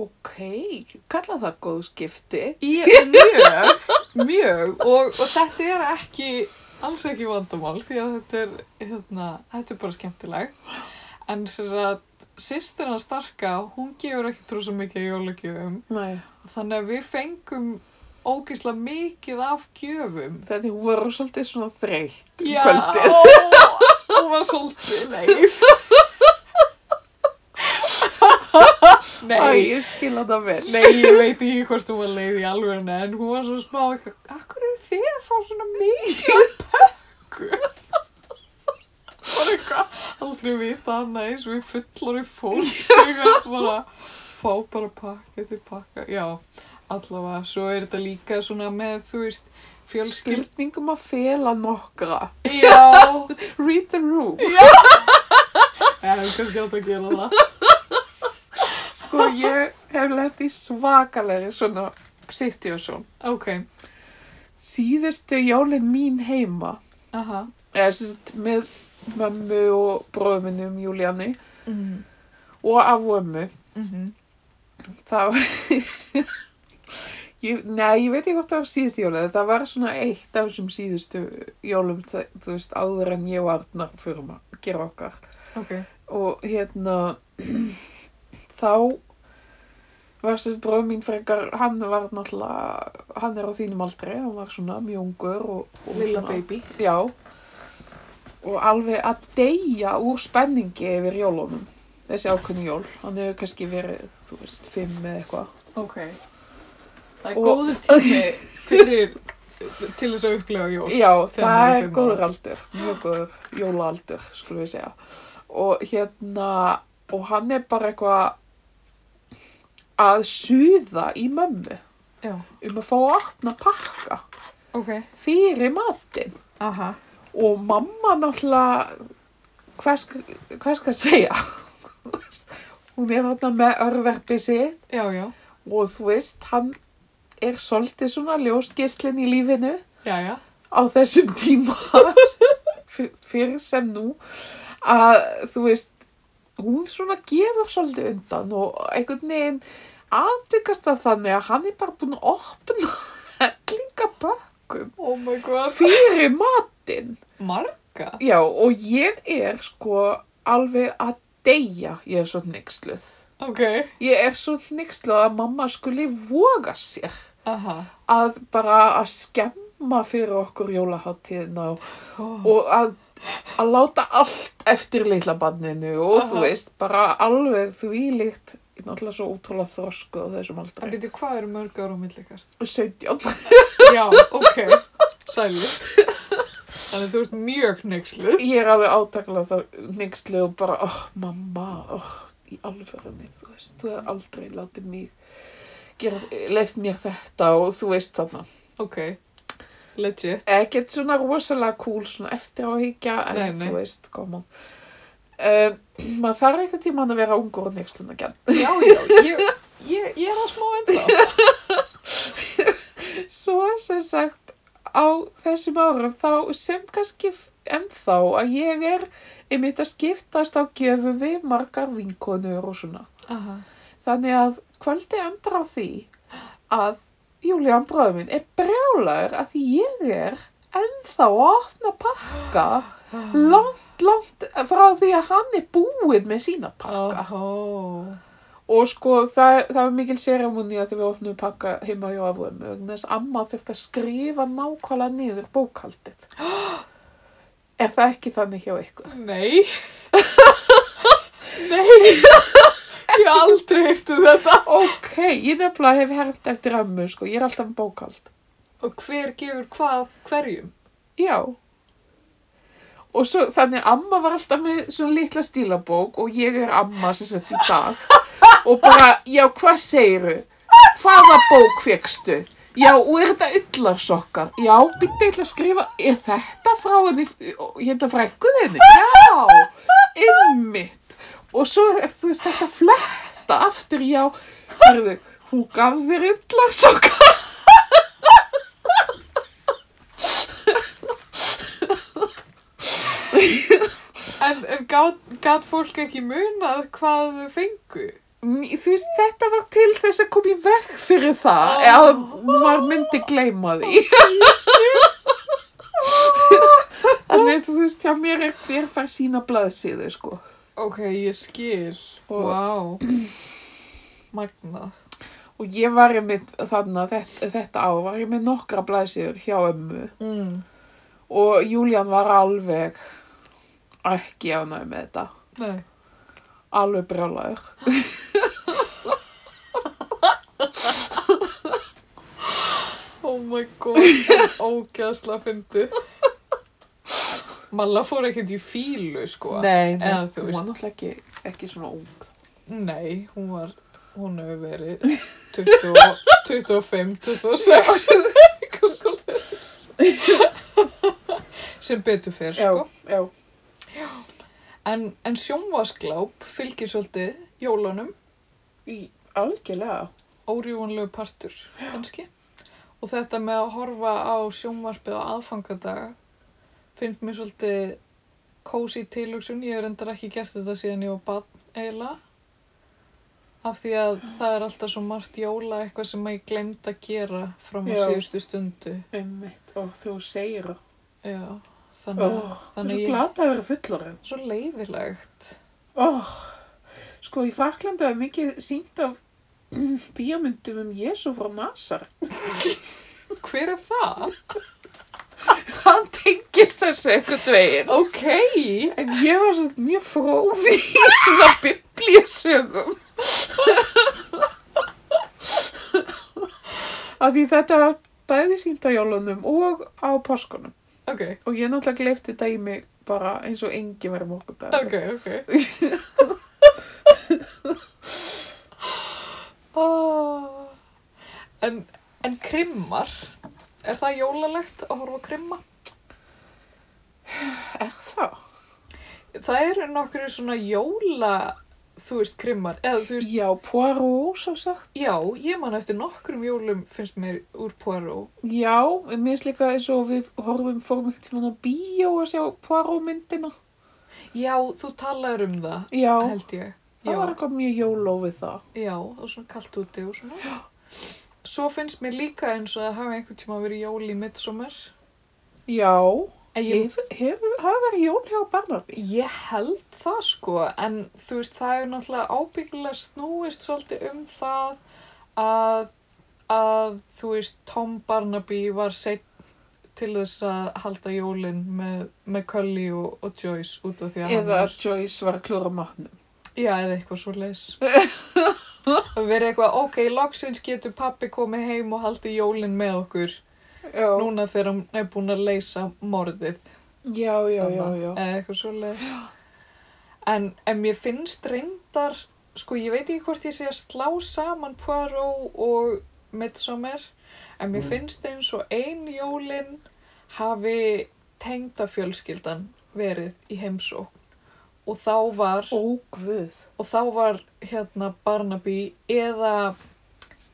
[SPEAKER 1] Ok, kalla það góð skipti.
[SPEAKER 2] Í, mjög, mjög og, og þetta er ekki, alls ekki vandamál því að þetta er, hérna, þetta er bara skemmtileg. En sem sagt, sýstir hans starka, hún gefur ekki trúsa mikið af jólagjöfum.
[SPEAKER 1] Nei,
[SPEAKER 2] Þannig að við fengum ógisla mikið af gjöfum.
[SPEAKER 1] þannig hún var svolítið svona þreytt um
[SPEAKER 2] Já,
[SPEAKER 1] kvöldið.
[SPEAKER 2] ó, hún var svolítið leið.
[SPEAKER 1] Æ,
[SPEAKER 2] Nei,
[SPEAKER 1] ég skila það vel.
[SPEAKER 2] Nei, ég veit ekki hvort hún var leið í alvegna en hún var svona smá eitthvað, "Ah, akkur eru þið að fá svona mikið af pökku? Bara eitthvað, aldrei vita annað eins og við fullari fólk, eitthvað bara, fá bara pakka til pakka, já, allavega, svo er þetta líka svona með, þú veist, fjölskyld,
[SPEAKER 1] Skilningum að fela nokkra.
[SPEAKER 2] já,
[SPEAKER 1] Read the room.
[SPEAKER 2] ég hef kannski átt að gera það.
[SPEAKER 1] Sko, ég hef lett í svakalegri svona situation.
[SPEAKER 2] Ok,
[SPEAKER 1] Síðustu jólin mín heima,
[SPEAKER 2] aha,
[SPEAKER 1] eða sem sagt með mömmu og bróðuminum Júlíani
[SPEAKER 2] mhm,
[SPEAKER 1] og af ömmu.
[SPEAKER 2] mhm,
[SPEAKER 1] Það var... ég, nei, ég veit ekki hvort það var síðustu jólum. Það var svona eitt af þessum síðustu jólum, þa- þú veist, áður en ég og Arnar fyrir að gera okkar.
[SPEAKER 2] ok,
[SPEAKER 1] Og hérna, þá var sérst bróð mín frekar, hann var náttúrulega, hann er á þínum aldri, hann var svona mjög ungur og... og
[SPEAKER 2] lilla
[SPEAKER 1] svona-
[SPEAKER 2] baby,
[SPEAKER 1] Já. Og alveg að deyja úr spenningi yfir jólunum. Þessi ákveðni jól. Hann hefur kannski verið, þú veist, fimm eða eitthvað.
[SPEAKER 2] Ok. Það er
[SPEAKER 1] Og-
[SPEAKER 2] góðu tími fyrir, til þess að upplega jól.
[SPEAKER 1] Já,
[SPEAKER 2] Þegar
[SPEAKER 1] það
[SPEAKER 2] maður er
[SPEAKER 1] er
[SPEAKER 2] fimm
[SPEAKER 1] góður
[SPEAKER 2] ára.
[SPEAKER 1] aldur. Mjög góður jólaaldur, skulum við segja. Og hérna, og hann er bara eitthvað að suða í mömmu
[SPEAKER 2] Já.
[SPEAKER 1] um að fá að opna pakka
[SPEAKER 2] Ok.
[SPEAKER 1] fyrir matinn.
[SPEAKER 2] Aha.
[SPEAKER 1] og mamma náttúrulega hvað skal, hvað skal ég segja hún er þarna með örverfi sitt
[SPEAKER 2] Já, já.
[SPEAKER 1] og þú veist hann er svolítið svona ljósgislin í lífinu
[SPEAKER 2] Já, já.
[SPEAKER 1] á þessum tíma fyr- fyrir sem nú að þú veist hún svona gefur svolítið undan og einhvern veginn aftökast það þannig að hann er bara búin að opna hellinga bókum
[SPEAKER 2] Oh my god.
[SPEAKER 1] fyrir matinn.
[SPEAKER 2] Marga?
[SPEAKER 1] Já, og ég er sko alveg að deyja, ég er svo neyksluð.
[SPEAKER 2] Ok.
[SPEAKER 1] Ég er svo neyksluð að mamma skuli voga sér
[SPEAKER 2] Aha.
[SPEAKER 1] að bara að skemma fyrir okkur jólaháttíðina og,
[SPEAKER 2] Oh.
[SPEAKER 1] og að, að láta allt eftir litla banninu og þú
[SPEAKER 2] Aha.
[SPEAKER 1] veist, bara alveg því líkt, ég er náttúrulega svo útrúlega þrosku á þessum
[SPEAKER 2] En
[SPEAKER 1] aldrei.
[SPEAKER 2] byrju, hvað eru mörg ára á millikar?
[SPEAKER 1] 17.
[SPEAKER 2] Já, ok. Sælut. Þannig að þú ert mjög neyksluð.
[SPEAKER 1] Ég er alveg átaklega þá neykslu og bara, oh, mamma, oh, í alvörunni, þú veist, þú er aldrei látið mig gera, leif mér þetta og þú veist þarna.
[SPEAKER 2] Ok. Legit.
[SPEAKER 1] Ekkert svona rosalega cool, svona eftir á higgja, en
[SPEAKER 2] Nei, nei.
[SPEAKER 1] þú veist, koma. Um, maður þarf einhvern tímann að vera ungur og neykslun að genn.
[SPEAKER 2] Já, já. Ég, ég, ég er að smá enda.
[SPEAKER 1] Svo sem sagt, á þessum árum þá sem kannski f- ennþá að ég er einmitt að skiptast á gjöfu við margar vinkonur og svona.
[SPEAKER 2] Aha.
[SPEAKER 1] Þannig að kvöldi endar á því að Júlían bróður minn er brjálaður að því ég er ennþá að opna pakka langt, langt frá því að hann er búinn með sína pakka.
[SPEAKER 2] Aha.
[SPEAKER 1] Og sko það, það var mikil sérumónía þegar við opnum pakka heima hjá afvöðum vegna þess að amma þurfti að skrifa nákvæmlega niður bókhaldið. Er það ekki þannig hjá ykkur?
[SPEAKER 2] Nei. Nei. Ég hef aldrei heyrtu þetta.
[SPEAKER 1] Ok, ég nefnilega hef hernt eftir ömmu sko, ég er alltaf með bókhald.
[SPEAKER 2] Og hver gefur hvað hverjum?
[SPEAKER 1] Já. Og svo, þannig amma var alltaf með svona litla stílabók og ég er amma sem sett í dag. Og bara, já, hvað segiru? Hvaða bók fegstu? Já, og er þetta ullarsokar? Já, byrja eitthvað að skrifa, er þetta frá henni, hérna frækkuð henni? Já, ymmit. Og svo, er, þú veist, þetta fletta aftur, já, hérðu, hún gaf þér ullarsokar.
[SPEAKER 2] En, en gæt fólk ekki munað hvað þau fengu?
[SPEAKER 1] Ný- Þú veist, þetta var til þess að koma í vekk fyrir það oh. að maður myndi gleyma því. Þannig að þú veist, hjá mér er hver fær sína blaðsíðu, sko.
[SPEAKER 2] Ok, ég skil. Vá.
[SPEAKER 1] Og-
[SPEAKER 2] Magnað.
[SPEAKER 1] Og ég var ég með, þannig að þetta, þetta á, var ég með nokkra blaðsíður hjá ömmu.
[SPEAKER 2] Mm.
[SPEAKER 1] Og Júlían var alveg ekki ánæg með þetta.
[SPEAKER 2] Nei.
[SPEAKER 1] Alveg brjólaður.
[SPEAKER 2] Oh my god, það er ógæðsla fyndi. Malla fór ekkert í fílu, sko.
[SPEAKER 1] Nei, nei,
[SPEAKER 2] Eða, þú
[SPEAKER 1] hún
[SPEAKER 2] veist.
[SPEAKER 1] var náttúrulega ekki, ekki svona ung.
[SPEAKER 2] Nei, hún var, hún hefur verið 20, 25, 26, eitthvað svolítið. Sem betur fer, sko.
[SPEAKER 1] Já, já.
[SPEAKER 2] En, en sjónvasgláp fylgir svolítið jólunum,
[SPEAKER 1] Í, algjörlega.
[SPEAKER 2] órjúanlegu partur, kannski. Og þetta með að horfa á sjónvarpið á aðfangadaga finnst mér svolítið kósi tilugsun. Ég hef reyndar ekki gert þetta síðan ég var barn eiginlega. Af því að það er alltaf svo margt jóla eitthvað sem ég glemt að gera fram á
[SPEAKER 1] Já.
[SPEAKER 2] síðustu stundu.
[SPEAKER 1] Einmitt, og þú segir það.
[SPEAKER 2] Já, þannig,
[SPEAKER 1] Oh,
[SPEAKER 2] þannig
[SPEAKER 1] ég er svo
[SPEAKER 2] ég
[SPEAKER 1] glad að vera fullorinn.
[SPEAKER 2] svo leiðilegt.
[SPEAKER 1] Oh, sko, í Fraklandi er mikið sínt af bíómyndum um Jésu frá Nazaret.
[SPEAKER 2] Hver er það?
[SPEAKER 1] Hann tengist þessu einhvern veginn.
[SPEAKER 2] Ok,
[SPEAKER 1] En ég var svo mjög fróð í svona biblíusögum. Af því þetta var bæði sínt á jólunum og á páskunum.
[SPEAKER 2] ok,
[SPEAKER 1] Og ég náttúrulega gleyfti þetta í mig bara eins og engin verið morgundag.
[SPEAKER 2] ok, ok. Oh. En, en krimmar, er það jólalegt að horfa á krimma?
[SPEAKER 1] Er það?
[SPEAKER 2] Það eru nokkru svona jóla, þú veist, krimmar, eða þú veist,
[SPEAKER 1] Já, Poirot, svo sagt.
[SPEAKER 2] já, ég man eftir nokkrum jólum finnst mér úr Poirot.
[SPEAKER 1] Já, en mér finnst líka eins og við horfum fórum ekkert tíma á bíó að sjá Poirot myndina.
[SPEAKER 2] Já, þú talaður um það,
[SPEAKER 1] Já,
[SPEAKER 2] held ég.
[SPEAKER 1] það
[SPEAKER 2] Já,
[SPEAKER 1] var eitthvað mjög jóló við það.
[SPEAKER 2] já, og svona kalt úti og svona. Svo finnst mér líka eins og það hafi einhvern tíma verið jól í midsommar.
[SPEAKER 1] Já,
[SPEAKER 2] En ég,
[SPEAKER 1] hefur hef, hef verið jól hjá Barnaby.
[SPEAKER 2] ég held það sko, en þú veist, það hefur náttúrulega ábyggilega snúist svolítið um það að, að þú veist, Tom Barnaby var seitt til þess að halda jólin með, með Cully og, og Joyce út af því að
[SPEAKER 1] Eða
[SPEAKER 2] var...
[SPEAKER 1] að Joyce var að klúra matnum.
[SPEAKER 2] Já, eða eitthvað svo leis. Og verið eitthvað, ok, loksins getur pappi komið heim og haldið jólin með okkur.
[SPEAKER 1] Já,
[SPEAKER 2] Núna þegar hann er búin að leysa morðið.
[SPEAKER 1] já, já, já,
[SPEAKER 2] þarna,
[SPEAKER 1] já.
[SPEAKER 2] Eða eitthvað svo leiðis. En, en mér finnst reyndar, sko ég veit ekki hvort ég sé að slá saman Poirot og Midsommar, en mér
[SPEAKER 1] Mm.
[SPEAKER 2] finnst eins og ein jólin hafi tengdafjölskyldan verið í heimsókn og þá var,
[SPEAKER 1] Ó, guð.
[SPEAKER 2] og þá var hérna Barnaby eða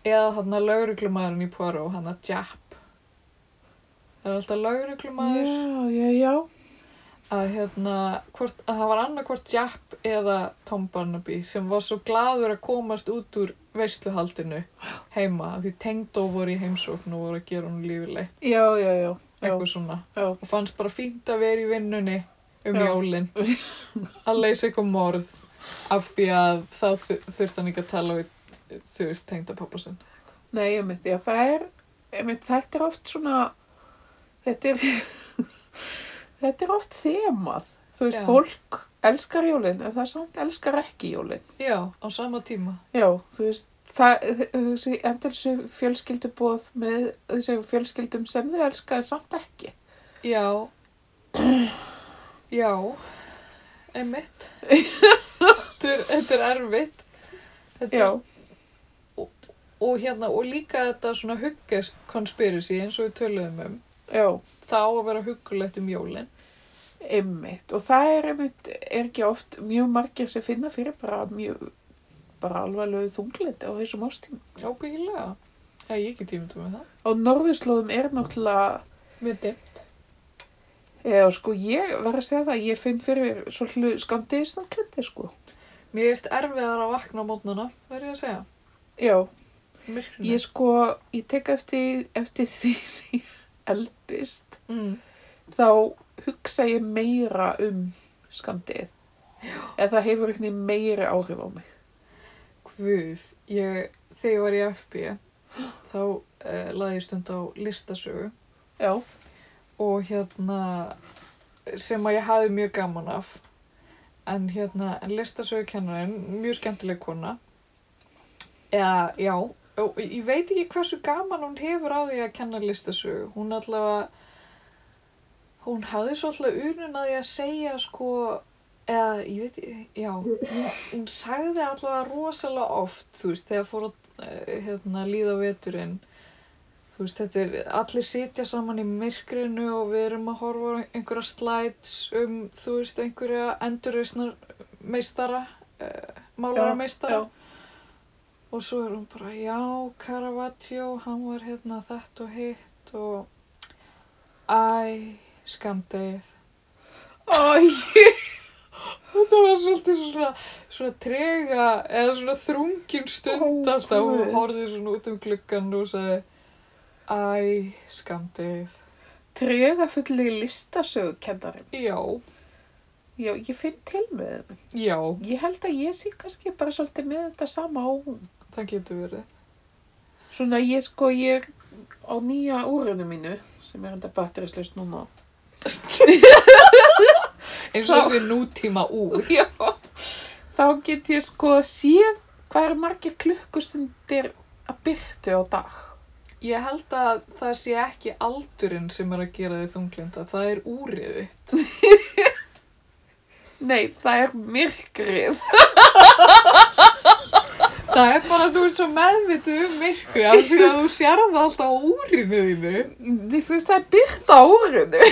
[SPEAKER 2] eða þarna lauruglumæðurinn í Poirot, hann að Japp. Það er alltaf lauruglumæður
[SPEAKER 1] Já, já, já.
[SPEAKER 2] að hérna, hvort, að það var annarkvort Japp eða Tom Barnaby sem var svo gladur að komast út úr veisluhaldinu heima af því tengdó voru í heimsókn og voru að gera hún lífileg,
[SPEAKER 1] Já, já, já. Já,
[SPEAKER 2] eitthvað svona
[SPEAKER 1] já.
[SPEAKER 2] og fannst bara fínt að vera í vinnunni um
[SPEAKER 1] Já.
[SPEAKER 2] jólin að leysa eitthvað morð af því að þá þur- þurfti hann ekki að tala við þú veist tengda pappa sinn
[SPEAKER 1] Nei, ég myndi að það er, ég myndi þetta er oft svona, þetta er, þetta er oft þemað. Þú veist,
[SPEAKER 2] Já.
[SPEAKER 1] fólk elskar jólinn en það samt elskar ekki jólinn.
[SPEAKER 2] já, á sama tíma
[SPEAKER 1] Já, þú veist, það, þessi endalsu fjölskyldubóð með þessi fjölskyldum sem þau elskar en samt ekki.
[SPEAKER 2] já já einmitt þetta, er, þetta er erfitt þetta
[SPEAKER 1] Já,
[SPEAKER 2] er, og hérna og líka þetta svona huggaskonspirasi eins og við töluðum um
[SPEAKER 1] já,
[SPEAKER 2] þá að vera huggulegt um jólin
[SPEAKER 1] einmitt. Og það er einmitt, er ekki oft mjög margir sem finna fyrir bara mjög, bara alvarlegu þunglindi á þessum ástíma.
[SPEAKER 2] ábyggilega eða ég ekki tímið með það
[SPEAKER 1] Á norðurslóðum er náttúrulega
[SPEAKER 2] mjög dimmt
[SPEAKER 1] Já, sko, ég var að segja það, ég finn fyrir svolítið skamdegi snögglendi, sko.
[SPEAKER 2] mér erist erfiðar að vakna á mótnana verður ég að segja
[SPEAKER 1] Já,
[SPEAKER 2] Myrkrinu.
[SPEAKER 1] ég sko, ég tek eftir, eftir því sem ég eldist,
[SPEAKER 2] mm.
[SPEAKER 1] þá hugsa ég meira um skamdegið. Eða það hefur einhvern veginn meiri áhrif á mig.
[SPEAKER 2] Guð, ég, þegar ég var í FB þá uh, laði ég stund á listasögu
[SPEAKER 1] Já,
[SPEAKER 2] og hérna sem að ég hafði mjög gaman af en hérna en listasögukennarinn, mjög skemmtileg kona eða já og ég veit ekki hversu gaman hún hefur á því að kenna listasögu hún allavega hún hafði svolítið unun að því að segja sko eða ég veit, já hún, hún sagði allavega rosalega oft þú veist, þegar fór að eh, hérna, líða á veturinn þú veist, þetta er, allir sitja saman í myrkrinu og við erum að horfa á einhverja slæts um, þú veist, einhverja endurreisnar meistara, uh, málara meistara
[SPEAKER 1] já,
[SPEAKER 2] og svo er hún bara, já, Caravaggio, hann var hérna þetta og hitt og æ, skamdegið.
[SPEAKER 1] Æ,
[SPEAKER 2] Þetta var svolítið svona, svona trega eða svona þrungin stund
[SPEAKER 1] Ó,
[SPEAKER 2] alltaf og
[SPEAKER 1] Guð.
[SPEAKER 2] hún horfði svona út um gluggan og sagði, æ, skamdegið.
[SPEAKER 1] trega fulli listasögukennarinn.
[SPEAKER 2] Já,
[SPEAKER 1] Já, ég finn til með þeim.
[SPEAKER 2] já,
[SPEAKER 1] Ég held að ég sé kannski bara svolítið með þetta sama á hún.
[SPEAKER 2] það getur verið.
[SPEAKER 1] Svona ég sko, ég er á nýja úrunu mínu sem er enda batterislaust núna.
[SPEAKER 2] eins
[SPEAKER 1] og
[SPEAKER 2] og þessi nútíma úr
[SPEAKER 1] Já. Þá get ég sko séð hvað eru margir klukkustundir að byrtu á dag.
[SPEAKER 2] ég held að það sé ekki aldurinn sem er að gera þið þunglinda það er úrið þitt
[SPEAKER 1] Nei, það er myrkrið.
[SPEAKER 2] það er bara að þú ert svo meðvitið um myrkri af því að þú sér það alltaf á úrinu þínu
[SPEAKER 1] Nei, Þú veist, það er byrta á úrunu.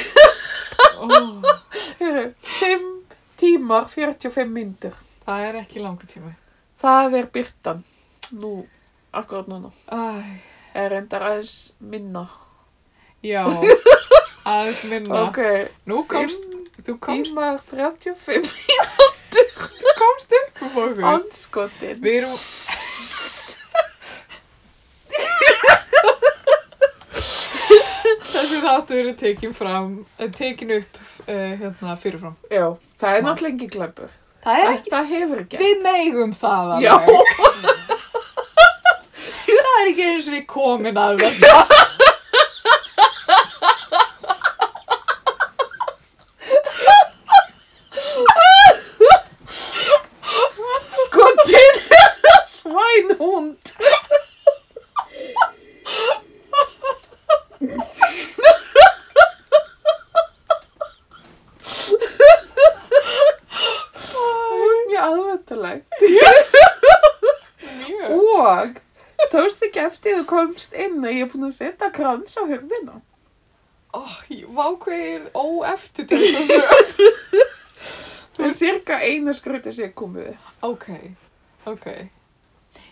[SPEAKER 2] oh.
[SPEAKER 1] Fimm tímar, 45 myndur.
[SPEAKER 2] það er ekki langu tími
[SPEAKER 1] Það er byrtan. Nú, akkurat núna.
[SPEAKER 2] Æ,
[SPEAKER 1] Er enda aðeins minna.
[SPEAKER 2] já aðeins minna
[SPEAKER 1] Ok,
[SPEAKER 2] nú komst, þú komst,
[SPEAKER 1] tímar 35
[SPEAKER 2] þú komst upp um okkur
[SPEAKER 1] anskotin.
[SPEAKER 2] Við erum- áttu verið tekin fram, eh, tekin upp uh, hérna fyrirfram.
[SPEAKER 1] Já, það er
[SPEAKER 2] Smá.
[SPEAKER 1] náttúrulega ekki glæpur.
[SPEAKER 2] Það er
[SPEAKER 1] Það,
[SPEAKER 2] ekki,
[SPEAKER 1] það hefur ekki.
[SPEAKER 2] við megum það
[SPEAKER 1] Já.
[SPEAKER 2] það er ekki eins og við komin að verða.
[SPEAKER 1] Skotin Svænhund Það er mjög aðvendulegt
[SPEAKER 2] Mjög.
[SPEAKER 1] Og tókst ekki eftir þú komst inn að ég er búin að setja krans á hurðina
[SPEAKER 2] Oh, Vákveðir óeftir til þessu.
[SPEAKER 1] Það er cirka eina skröti sem ég komið
[SPEAKER 2] ok, ok.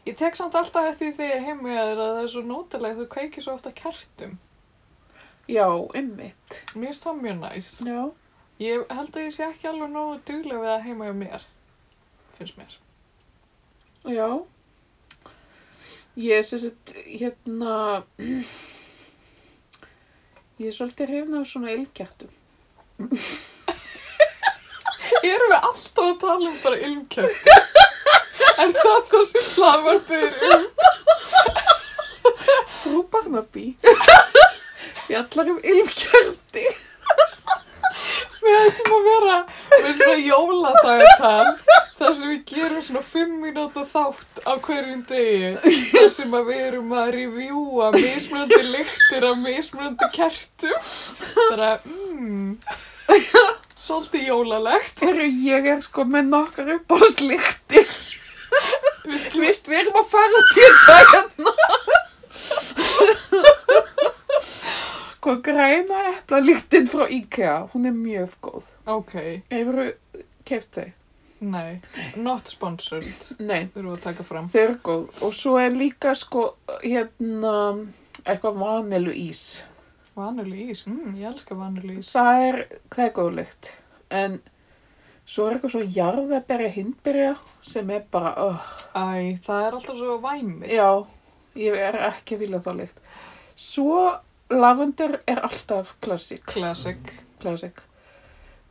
[SPEAKER 2] Ég tek samt alltaf eftir því þegar heimi að þér að það er svo nótilega þú kveikir svo ofta kertum.
[SPEAKER 1] Já, einmitt
[SPEAKER 2] Mér finnst það mjög næs.
[SPEAKER 1] Já
[SPEAKER 2] Ég held að ég sé ekki alveg nógu duglega við að heima hjá mér, finnst mér.
[SPEAKER 1] Já. Ég er sem sagt, hérna, ég er svolítið hrifna af svona ilmkertum.
[SPEAKER 2] Erum við alltaf að tala um bara ilmkerti? er það það sem hlaðvarpið er um?
[SPEAKER 1] Frú Barnaby fjallar um ilmkerti.
[SPEAKER 2] Við ættum að vera með svona jóladagatal þar sem við gerum svona fimm mínúta þátt á hverjum degi þar sem að við erum að revjúa mismunandi lyktir af mismunandi kertum þar að, mmm, svolítið jólalegt
[SPEAKER 1] Þegar ég er sko með nokkar uppáðslíkti.
[SPEAKER 2] Við skulum
[SPEAKER 1] Vist, við erum að fara til það hérna. Sko, græna eplalíktin frá IKEA, hún er mjög góð.
[SPEAKER 2] Ok,
[SPEAKER 1] Hefur þú keft þau?
[SPEAKER 2] nei, not sponsored,
[SPEAKER 1] Nei.
[SPEAKER 2] þurfum við að taka fram.
[SPEAKER 1] Þau eru góð og svo er líka sko hérna eitthvað vanilu ís.
[SPEAKER 2] Vanilu ís, mm, ég elska vanilu ís.
[SPEAKER 1] Það er, það er góð lykt en svo er eitthvað svo jarðaberja hindberja sem er bara, oh,
[SPEAKER 2] Æ, það er alltaf svo væmið.
[SPEAKER 1] já, ég er ekki að vilja þá lykt. Svo lavendur er alltaf klassik,
[SPEAKER 2] Classic.
[SPEAKER 1] klassik.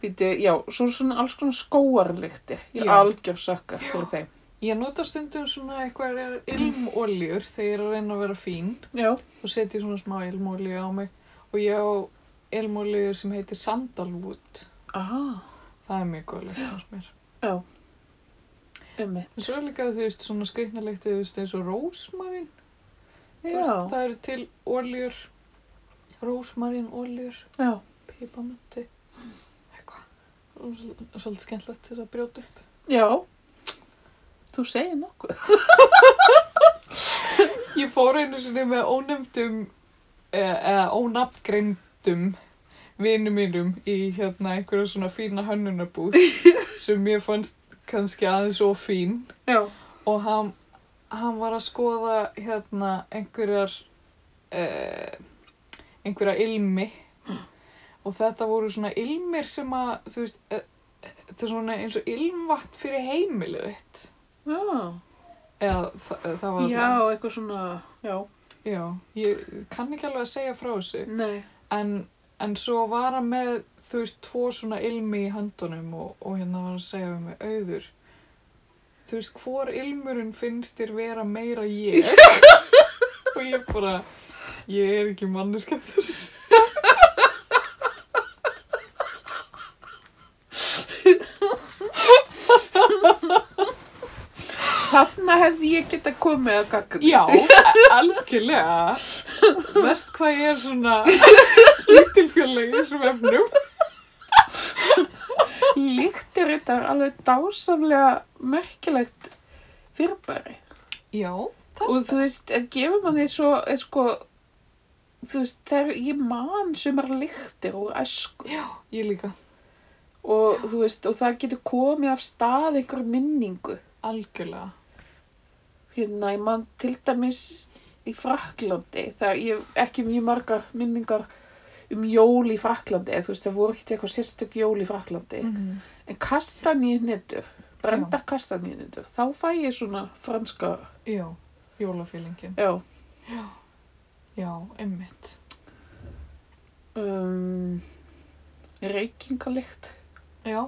[SPEAKER 1] Býti, já, svo er svona alls konar skóarlyktir. Ég er
[SPEAKER 2] Já.
[SPEAKER 1] algjör sökkar fyrir þeim.
[SPEAKER 2] Ég nota stundum svona eitthvað er ilmóljur þegar ég er að reyna að vera fín
[SPEAKER 1] Já,
[SPEAKER 2] og setja svona smá ilmólju á mig og ég á ilmólju sem heitir Sandalwood.
[SPEAKER 1] aha,
[SPEAKER 2] Það er mjög góð lykt fannst mér.
[SPEAKER 1] ummi.
[SPEAKER 2] En svo er líka þú veist svona skriknarlykti þú veist eins og rósmarin. Þú
[SPEAKER 1] Já,
[SPEAKER 2] Veist, það eru til óljur, rósmarin óljur,
[SPEAKER 1] já,
[SPEAKER 2] pipamönti, eitthvað. Og svol- Svolítið skemmtilegt til þess að brjóta upp.
[SPEAKER 1] já. Þú segir nokkuð.
[SPEAKER 2] Ég fór einu sinni með ónefndum eh, eða ónafngreimdum vinum mínum í hérna einhverja svona fína hönnunarbúð sem mér fannst kannski aðeins svo fín
[SPEAKER 1] Já.
[SPEAKER 2] og hann, hann var að skoða hérna einhverjar eh, einhverja ilmi og þetta voru svona ilmir sem að þú veist eh, þetta er svona eins og ilmvatt fyrir heimilið þitt
[SPEAKER 1] Já,
[SPEAKER 2] eða það, það var
[SPEAKER 1] já eitthvað svona, já,
[SPEAKER 2] Já, ég kann ekki alveg að segja frá þessu
[SPEAKER 1] nei,
[SPEAKER 2] en, en svo var hann með þú veist, tvo svona ilmi í höndunum og, og hérna var hann að segja við mig auður þú veist, hvor ilmurinn finnst þér vera meira ég og ég bara ég er ekki manneska þess
[SPEAKER 1] þarna hefði ég geta komið að gagna.
[SPEAKER 2] Já, a- algjörlega mest hvað ég er svona lítilfjörlega í þessum efnum
[SPEAKER 1] Líktir þetta er alveg dásamlega merkilegt fyrirbæri.
[SPEAKER 2] Já,
[SPEAKER 1] Og þú veist, að gefur manni svo, er sko, þú veist, þegar ég man sumar líktir úr æsku.
[SPEAKER 2] já, ég líka
[SPEAKER 1] Og þú veist, og það getur komið af stað einhver minningu.
[SPEAKER 2] algjörlega
[SPEAKER 1] Hérna, ég man til dæmis í Fraklandi, þegar ég ekki mjög margar minningar um jól í Fraklandi, eða þú veist, það voru ekki eitthvað sérstök jól í Fraklandi.
[SPEAKER 2] -hmm.
[SPEAKER 1] En kastaníunetur, brendar kastaníunetur, þá fæ ég svona franska,
[SPEAKER 2] Já, jólafýlingin
[SPEAKER 1] já,
[SPEAKER 2] Já, einmitt.
[SPEAKER 1] um, reykingalikt.
[SPEAKER 2] Já.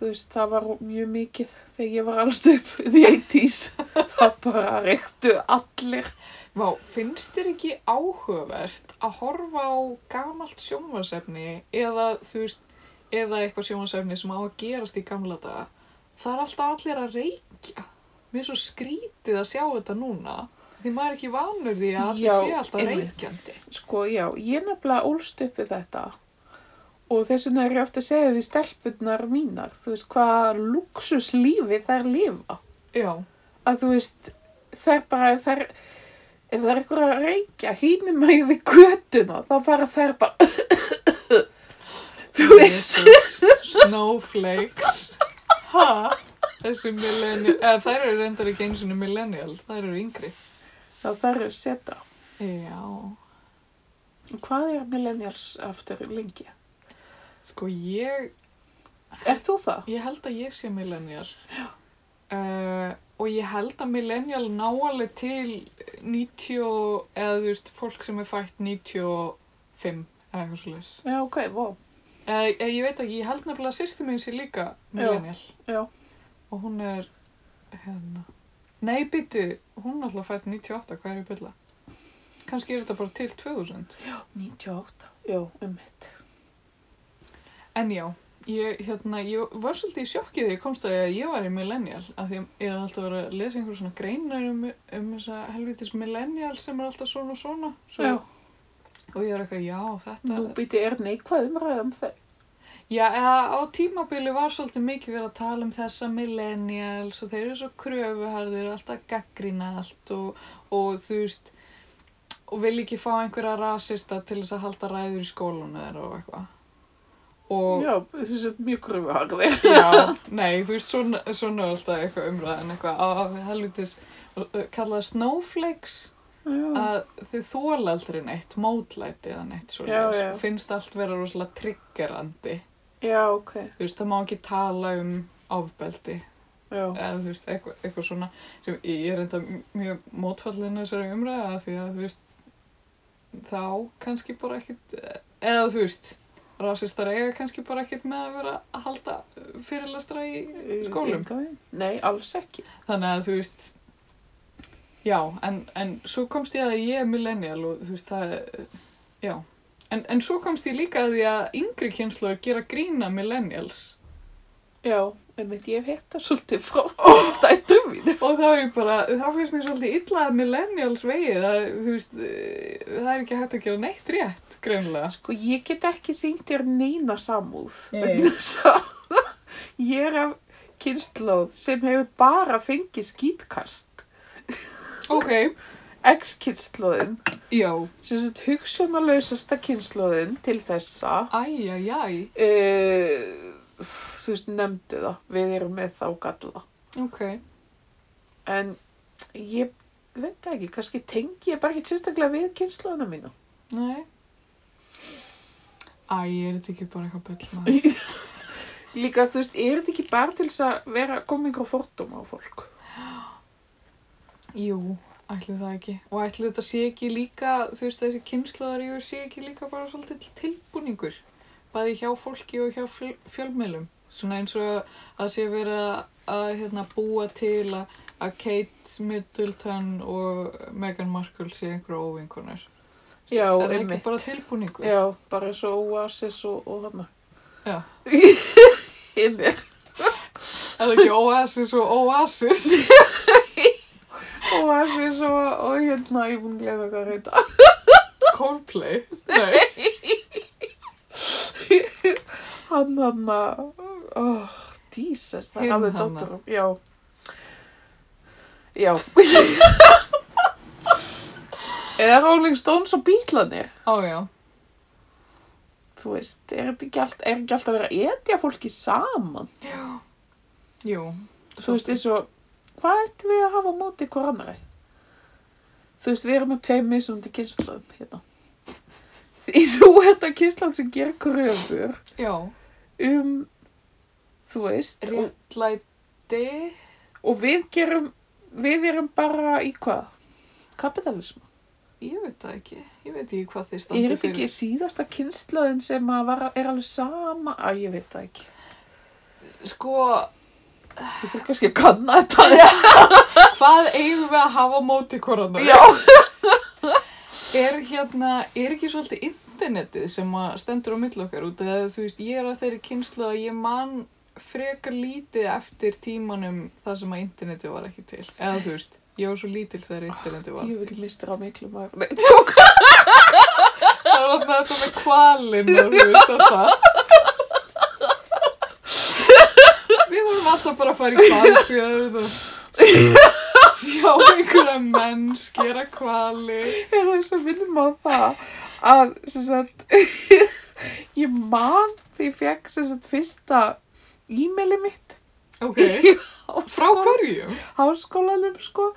[SPEAKER 1] Þú veist, það var mjög mikið þegar ég var alveg upp í the 80s. það bara reyktu allir.
[SPEAKER 2] Vá, finnst þér ekki áhugavert að horfa á gamalt sjónvarsefni eða, þú veist, eða eitthvað sjónvarsefni sem á að gerast í gamla daga? Það er alltaf allir að reykja. Mér er svo skrítið að sjá þetta núna. Því maður er ekki vanur því að allir
[SPEAKER 1] Já,
[SPEAKER 2] sé alltaf
[SPEAKER 1] einmitt.
[SPEAKER 2] reykjandi.
[SPEAKER 1] Sko, já, ég nefnilega ólst upp við þetta. Og þess vegna er ég ofta að segja við stelpunnar mínar, þú veist, hvað luxuslífi þær lifa.
[SPEAKER 2] Já,
[SPEAKER 1] Að þú veist, þær bara, þær, ef það er eitthvað að reykja hínum að við götuna, þá fara þær bara, þú veist,
[SPEAKER 2] Jesus, snowflakes. Ha? Þessi millennial, eða þær eru reyndar ekki eins og millennial, þær eru yngri.
[SPEAKER 1] þá þær er seta.
[SPEAKER 2] Já.
[SPEAKER 1] Hvað er millennials aftur lengi?
[SPEAKER 2] Sko ég
[SPEAKER 1] Er þú það?
[SPEAKER 2] Ég held að ég sé millennial. Uh, og ég held að millennial ná alveg til 90, og- eða þú veist, fólk sem er fætt 95 eða eitthvað svo leis.
[SPEAKER 1] Já, ok, vó.
[SPEAKER 2] Eða eða ég veit ekki, ég held nefnilega að sýsti minn sé líka millennial.
[SPEAKER 1] Já.
[SPEAKER 2] Og hún er, hérna, nei byttu, hún er alltaf fætt 98, hvað er ég bylla? Kannski er þetta bara til 2000.
[SPEAKER 1] 98. Jú, um mitt.
[SPEAKER 2] En já, ég, hérna, ég var svolítið í sjokkið þegar ég komst að því að ég var í millennial af því að ég hafði alltaf verið að lesa einhver svona greinar um, um þessa helvitis millennial sem er alltaf svona og svona svo,
[SPEAKER 1] Já,
[SPEAKER 2] og ég var eitthvað, já, þetta
[SPEAKER 1] nú býti er neikvað umræð um þau.
[SPEAKER 2] Já, eða á tímabili var svolítið mikið verið að tala um þessa millennials og þeir eru svo kröfuharðir og alltaf að gaggrina allt og, og þú veist og vil ekki fá einhverja rasista til þess að halda ræður í skólanu þeirra og eitthvað og
[SPEAKER 1] Já, þessi er mjög gröfuharði.
[SPEAKER 2] Já, nei, þú veist, svona, svona er alltaf eitthvað umræðan, eitthvað að helvitis, kallaða snowflakes,
[SPEAKER 1] Já,
[SPEAKER 2] að þið þóla aldrei neitt, mótlæti eða neitt svona,
[SPEAKER 1] Já, já.
[SPEAKER 2] finnst allt vera rosalega triggerandi,
[SPEAKER 1] já, ok.
[SPEAKER 2] þú veist, það má ekki tala um ofbeldi,
[SPEAKER 1] Já,
[SPEAKER 2] eða þú veist, eitthvað, eitthvað svona, sem ég er enda mjög mótfallin þessari umræða, því að þú veist, þá kannski bara ekkit, eða þú veist, rasistar eiga kannski bara ekkit með að vera að halda fyrirlestra í skólum.
[SPEAKER 1] Engan veginn. Nei, alls ekki.
[SPEAKER 2] Þannig að þú veist, já, en, en svo komst ég að ég er millennial og þú veist það, já. En, en svo komst ég líka að því að yngri kynnslóður gera grína millennials
[SPEAKER 1] Já, um mitt, ég hef heyrt það svolítið frá oh. dættum mín.
[SPEAKER 2] og þá er ég bara, þá finnst mér svolítið illa að millennials vegið að þú veist, eh, það er ekki hægt að gera neitt rétt, greinlega.
[SPEAKER 1] Sko, ég get ekki sýnt þér neina samúð.
[SPEAKER 2] Nei.
[SPEAKER 1] Svo, ég er af kynnslóð sem hefur bara fengið skýtkast.
[SPEAKER 2] Ok,
[SPEAKER 1] Ex-kynnslóðin.
[SPEAKER 2] já,
[SPEAKER 1] sem sagt hugsunarlausasta kynnslóðin til þessa
[SPEAKER 2] æjajaj,
[SPEAKER 1] uh, þú veist, nefndu það við erum með þá galla
[SPEAKER 2] ok,
[SPEAKER 1] en ég veit það ekki, kannski tengi ég bara ekki sérstaklega við kynnslóðina mína
[SPEAKER 2] nei. Æ, er þetta ekki bara eitthvað byll maður?
[SPEAKER 1] líka, þú veist, er þetta ekki bara til þess að vera komingur fórtum á fólk
[SPEAKER 2] Jú, ætli það ekki. Og ætli þetta sé ekki líka, þú veist, þessi kynnslóðarjúr sé ekki líka bara svolítið tilbúningur. Bæði hjá fólki og hjá fjöl, fjölmiðlum. Svona eins og að sé verið að, að hérna, búa til að, að Kate Middleton og Meghan Markle sé einhverja óvinkunar.
[SPEAKER 1] já,
[SPEAKER 2] Er það ekki
[SPEAKER 1] einmitt
[SPEAKER 2] bara tilbúningur?
[SPEAKER 1] já, bara svo oasis og, og hana
[SPEAKER 2] Já.
[SPEAKER 1] Hinn er
[SPEAKER 2] Er það ekki Oasis og Oasis?
[SPEAKER 1] oasis og, og hérna, ég mun glemja hvað að heita
[SPEAKER 2] Coldplay? Nei.
[SPEAKER 1] hann hann að oh, Jesus, það
[SPEAKER 2] Hinn
[SPEAKER 1] er alveg
[SPEAKER 2] hana.
[SPEAKER 1] dóttur já já eða Rolling Stones og Beatlanir
[SPEAKER 2] Á já.
[SPEAKER 1] þú veist, er þetta ekki allt, er ekki allt að vera að etja fólki saman
[SPEAKER 2] Jú.
[SPEAKER 1] þú veist, eins og hvað ættum við að hafa á móti hver annari þú veist, við erum með tveim mismunandi kynnslóðum hérna því þú ert að kynnslóð sem gerir kröfur
[SPEAKER 2] Já.
[SPEAKER 1] um þú veist, og
[SPEAKER 2] Réttlæti?
[SPEAKER 1] Og við gerum, við erum bara í hvað? Kapitalism.
[SPEAKER 2] ég veit það ekki, ég veit ekki hvað þið
[SPEAKER 1] Ég
[SPEAKER 2] standi
[SPEAKER 1] er þetta ekki síðasta kynslaðin sem að var, er alveg sama, að ég veit það ekki.
[SPEAKER 2] Sko,
[SPEAKER 1] Ég fyrir kannski að kanna þetta aðeins.
[SPEAKER 2] hvað eigum við að hafa á móti korona?
[SPEAKER 1] Já.
[SPEAKER 2] Er hérna, er ekki svolítið internetið sem að stendur á milli okkar út eða þú veist, ég er að þeirri kynslu að ég man frekar lítið eftir tímanum það sem að internetið var ekki til. Eða þú veist, ég var svo lítil þegar internetið
[SPEAKER 1] Ég
[SPEAKER 2] var ekki
[SPEAKER 1] vil
[SPEAKER 2] til.
[SPEAKER 1] mistra á miklu maður. Nei, tjók.
[SPEAKER 2] Það var alltaf þetta með kvalinn og þú veist að það. Við vorum alltaf bara að fara í kvalfjörð og sjá einhverja menn skera kvali.
[SPEAKER 1] Ég er þess að minnum á það að, sem sagt, ég man því ég fekk, sem sagt, fyrsta e-maili mitt.
[SPEAKER 2] Ok, frá hverju?
[SPEAKER 1] Háskólanum, sko.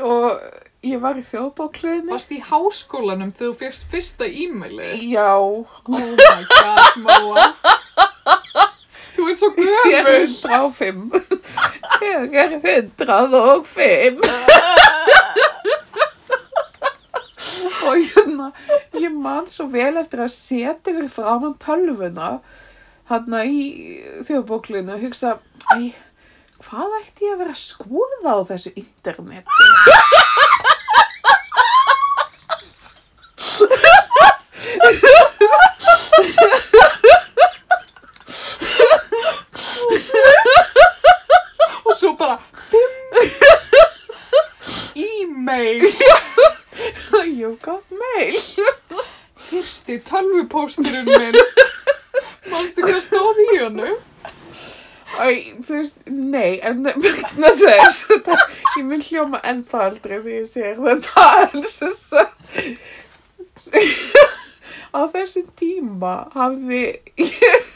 [SPEAKER 1] Og ég var í þjóðbókliðinni.
[SPEAKER 2] Varst í háskólanum þegar þú fyrst fyrsta e-mailið?
[SPEAKER 1] Já.
[SPEAKER 2] Oh my god, Móa. Þú ert svo
[SPEAKER 1] Ég er
[SPEAKER 2] gömul.
[SPEAKER 1] 105. Ég er 105. og hérna, ég man svo vel eftir að setja fyrir framann tölvuna hérna í þjóðbóklinu og hugsa, æ, hvað ætti ég að vera að skoða á þessu interneti?
[SPEAKER 2] Og svo bara, bim, e-mail.
[SPEAKER 1] You got mail.
[SPEAKER 2] Fyrsti tölvupósturinn minn. Manstu hvað stóð í honum?
[SPEAKER 1] Æ, þú veist, nei, en vegna þess, þetta, ég mun hljóma ennþá aldrei því ég sér þetta, en svo svo, á þessum tíma hafði ég,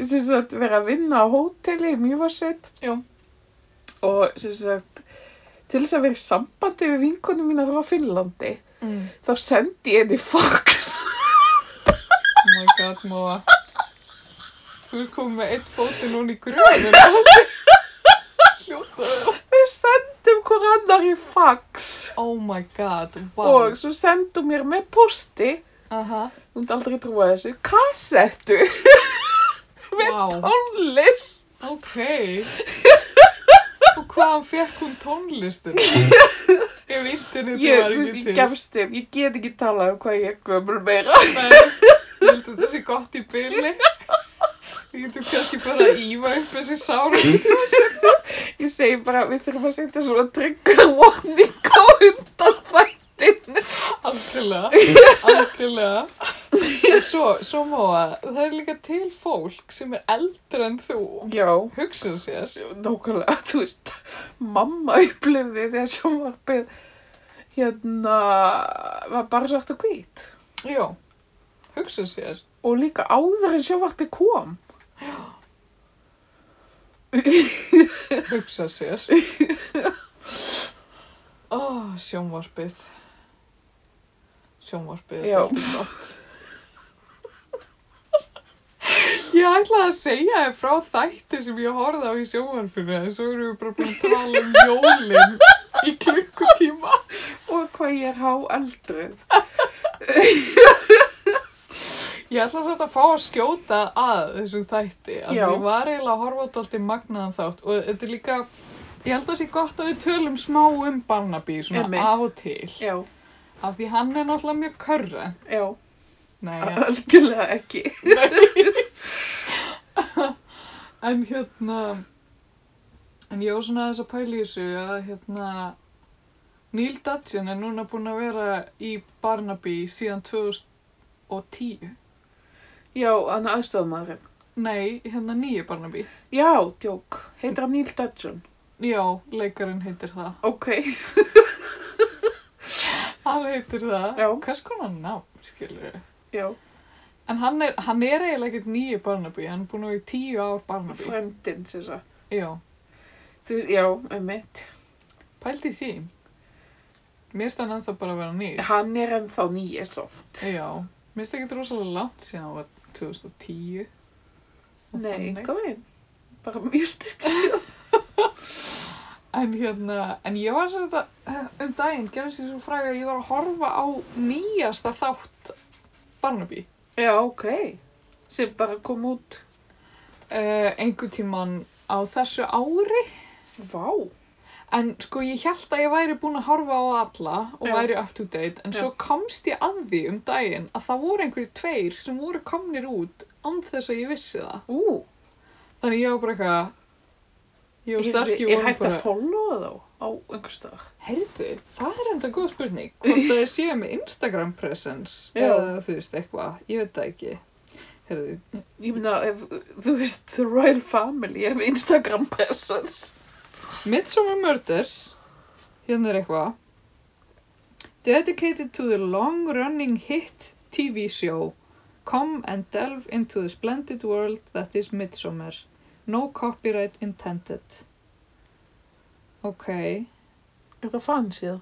[SPEAKER 1] sem sagt, verið að vinna á hóteli í Mýfarsveit
[SPEAKER 2] Já.
[SPEAKER 1] og, sem sagt, til þess að vera í sambandi við vinkunum mína frá Finnlandi,
[SPEAKER 2] Mm.
[SPEAKER 1] þá sendi ég henni fax.
[SPEAKER 2] Oh my god, Móa. Þú ert komið með eitt fóti núna í gröðinu. Hljótaðu.
[SPEAKER 1] Við sendum hver annar í fax
[SPEAKER 2] Oh my god, vá.
[SPEAKER 1] og svo sendum mér með posti.
[SPEAKER 2] Aha.
[SPEAKER 1] Þú myndi aldrei trúa þessu. Kassettu
[SPEAKER 2] Vá.
[SPEAKER 1] tónlist.
[SPEAKER 2] Ok. Og hvaðan fekk hún tónlistina? Ef internetið
[SPEAKER 1] Ég,
[SPEAKER 2] var
[SPEAKER 1] þú veist, ég
[SPEAKER 2] ekki til.
[SPEAKER 1] gefst þeim. Ég get ekki talað um hvað ég er gömul meira.
[SPEAKER 2] Nei, ég held að þetta sé gott í byli. Við getum kannski bara að ífa upp þessi sárum.
[SPEAKER 1] Ég segi bara, við þurfum að setja svona trigger warning á undan þættinu.
[SPEAKER 2] Algjörlega, algjörlega. En svo, svo móa, það er líka til fólk sem er eldra en þú.
[SPEAKER 1] Já,
[SPEAKER 2] Hugsa sér.
[SPEAKER 1] nákvæmlega, þú veist, mamma upplifði þegar sjónvarpið hérna var bara svart og hvít.
[SPEAKER 2] Já, hugsa sér.
[SPEAKER 1] Og líka áður en sjónvarpið kom.
[SPEAKER 2] Hugsa sér. Ó, sjónvarpið. Sjónvarpið, þetta
[SPEAKER 1] Já.
[SPEAKER 2] er alltaf gott. Ég ætlaði að segja þér frá þætti sem ég horfði á í sjónvarpinu en svo erum við bara búin að tala um jólin í klukkutíma.
[SPEAKER 1] Og hvað ég er há eldrið.
[SPEAKER 2] Ég ætla samt að fá að skjóta að þessum þætti að
[SPEAKER 1] Já.
[SPEAKER 2] ég var eiginlega að horfa út alltaf magnaðan þátt og þetta er líka, ég held að það sé gott að við tölum smá um Barnaby svona
[SPEAKER 1] Einmitt.
[SPEAKER 2] af og til
[SPEAKER 1] Já,
[SPEAKER 2] af því hann er náttúrulega mjög körra
[SPEAKER 1] já,
[SPEAKER 2] Nei,
[SPEAKER 1] algjörlega ekki.
[SPEAKER 2] en hérna en ég á svona þess að pæla í þessu að hérna Neil Dudgeon er núna búin að vera í Barnaby síðan 2010
[SPEAKER 1] Já, hann er aðstofamæðurinn.
[SPEAKER 2] Nei, hérna nýju Barnaby
[SPEAKER 1] Já, djók. Heitir hann Neil Dudgeon?
[SPEAKER 2] Já, leikarinn heitir það
[SPEAKER 1] Ok.
[SPEAKER 2] Hann heitir það.
[SPEAKER 1] Já.
[SPEAKER 2] Hvers konar nafn, skilur við?
[SPEAKER 1] Já,
[SPEAKER 2] En hann er, hann er eiginlega ekkert nýju Barnaby, hann er búin að vera í tíu ár Barnaby.
[SPEAKER 1] frendinn sem sagt.
[SPEAKER 2] Já,
[SPEAKER 1] Þú, já, einmitt.
[SPEAKER 2] pældi því. Mér stann ennþá bara að vera nýr.
[SPEAKER 1] Hann er ennþá nýja samt.
[SPEAKER 2] Já, mér stann ekkert rosalega langt síðan hann var 2010.
[SPEAKER 1] Nei,
[SPEAKER 2] Þannig.
[SPEAKER 1] hvað veginn? Bara mjög stutt.
[SPEAKER 2] En hérna, en ég var sem þetta um daginn, gerðist ég svo fræg að ég var að horfa á nýjasta þátt Barnaby.
[SPEAKER 1] Já, ok. Sem bara kom út.
[SPEAKER 2] Uh, engu tíman á þessu ári.
[SPEAKER 1] Vá.
[SPEAKER 2] En sko ég held að ég væri búin að horfa á alla og
[SPEAKER 1] Já.
[SPEAKER 2] væri up to date en
[SPEAKER 1] Já.
[SPEAKER 2] svo komst ég að því um daginn að það voru einhverjir tveir sem voru komnir út án þess að ég vissi það.
[SPEAKER 1] Ú.
[SPEAKER 2] Þannig ég var bara eitthvað, ég var sterk, ég
[SPEAKER 1] Er
[SPEAKER 2] var
[SPEAKER 1] hægt
[SPEAKER 2] bara,
[SPEAKER 1] að followa þá á einhver stað?
[SPEAKER 2] heyrðu, það er enda góð spurning, hvort það séu með Instagram presence
[SPEAKER 1] Já.
[SPEAKER 2] eða þú veist eitthvað, ég veit það ekki. Heyrðu,
[SPEAKER 1] Ég meina, ef, þú veist, The Royal Family er með Instagram presence.
[SPEAKER 2] Midsommar Murders hérna er eitthvað dedicated to the long running hit TV show come and delve into the splendid world that is Midsommar no copyright intended ok
[SPEAKER 1] Er það fansið?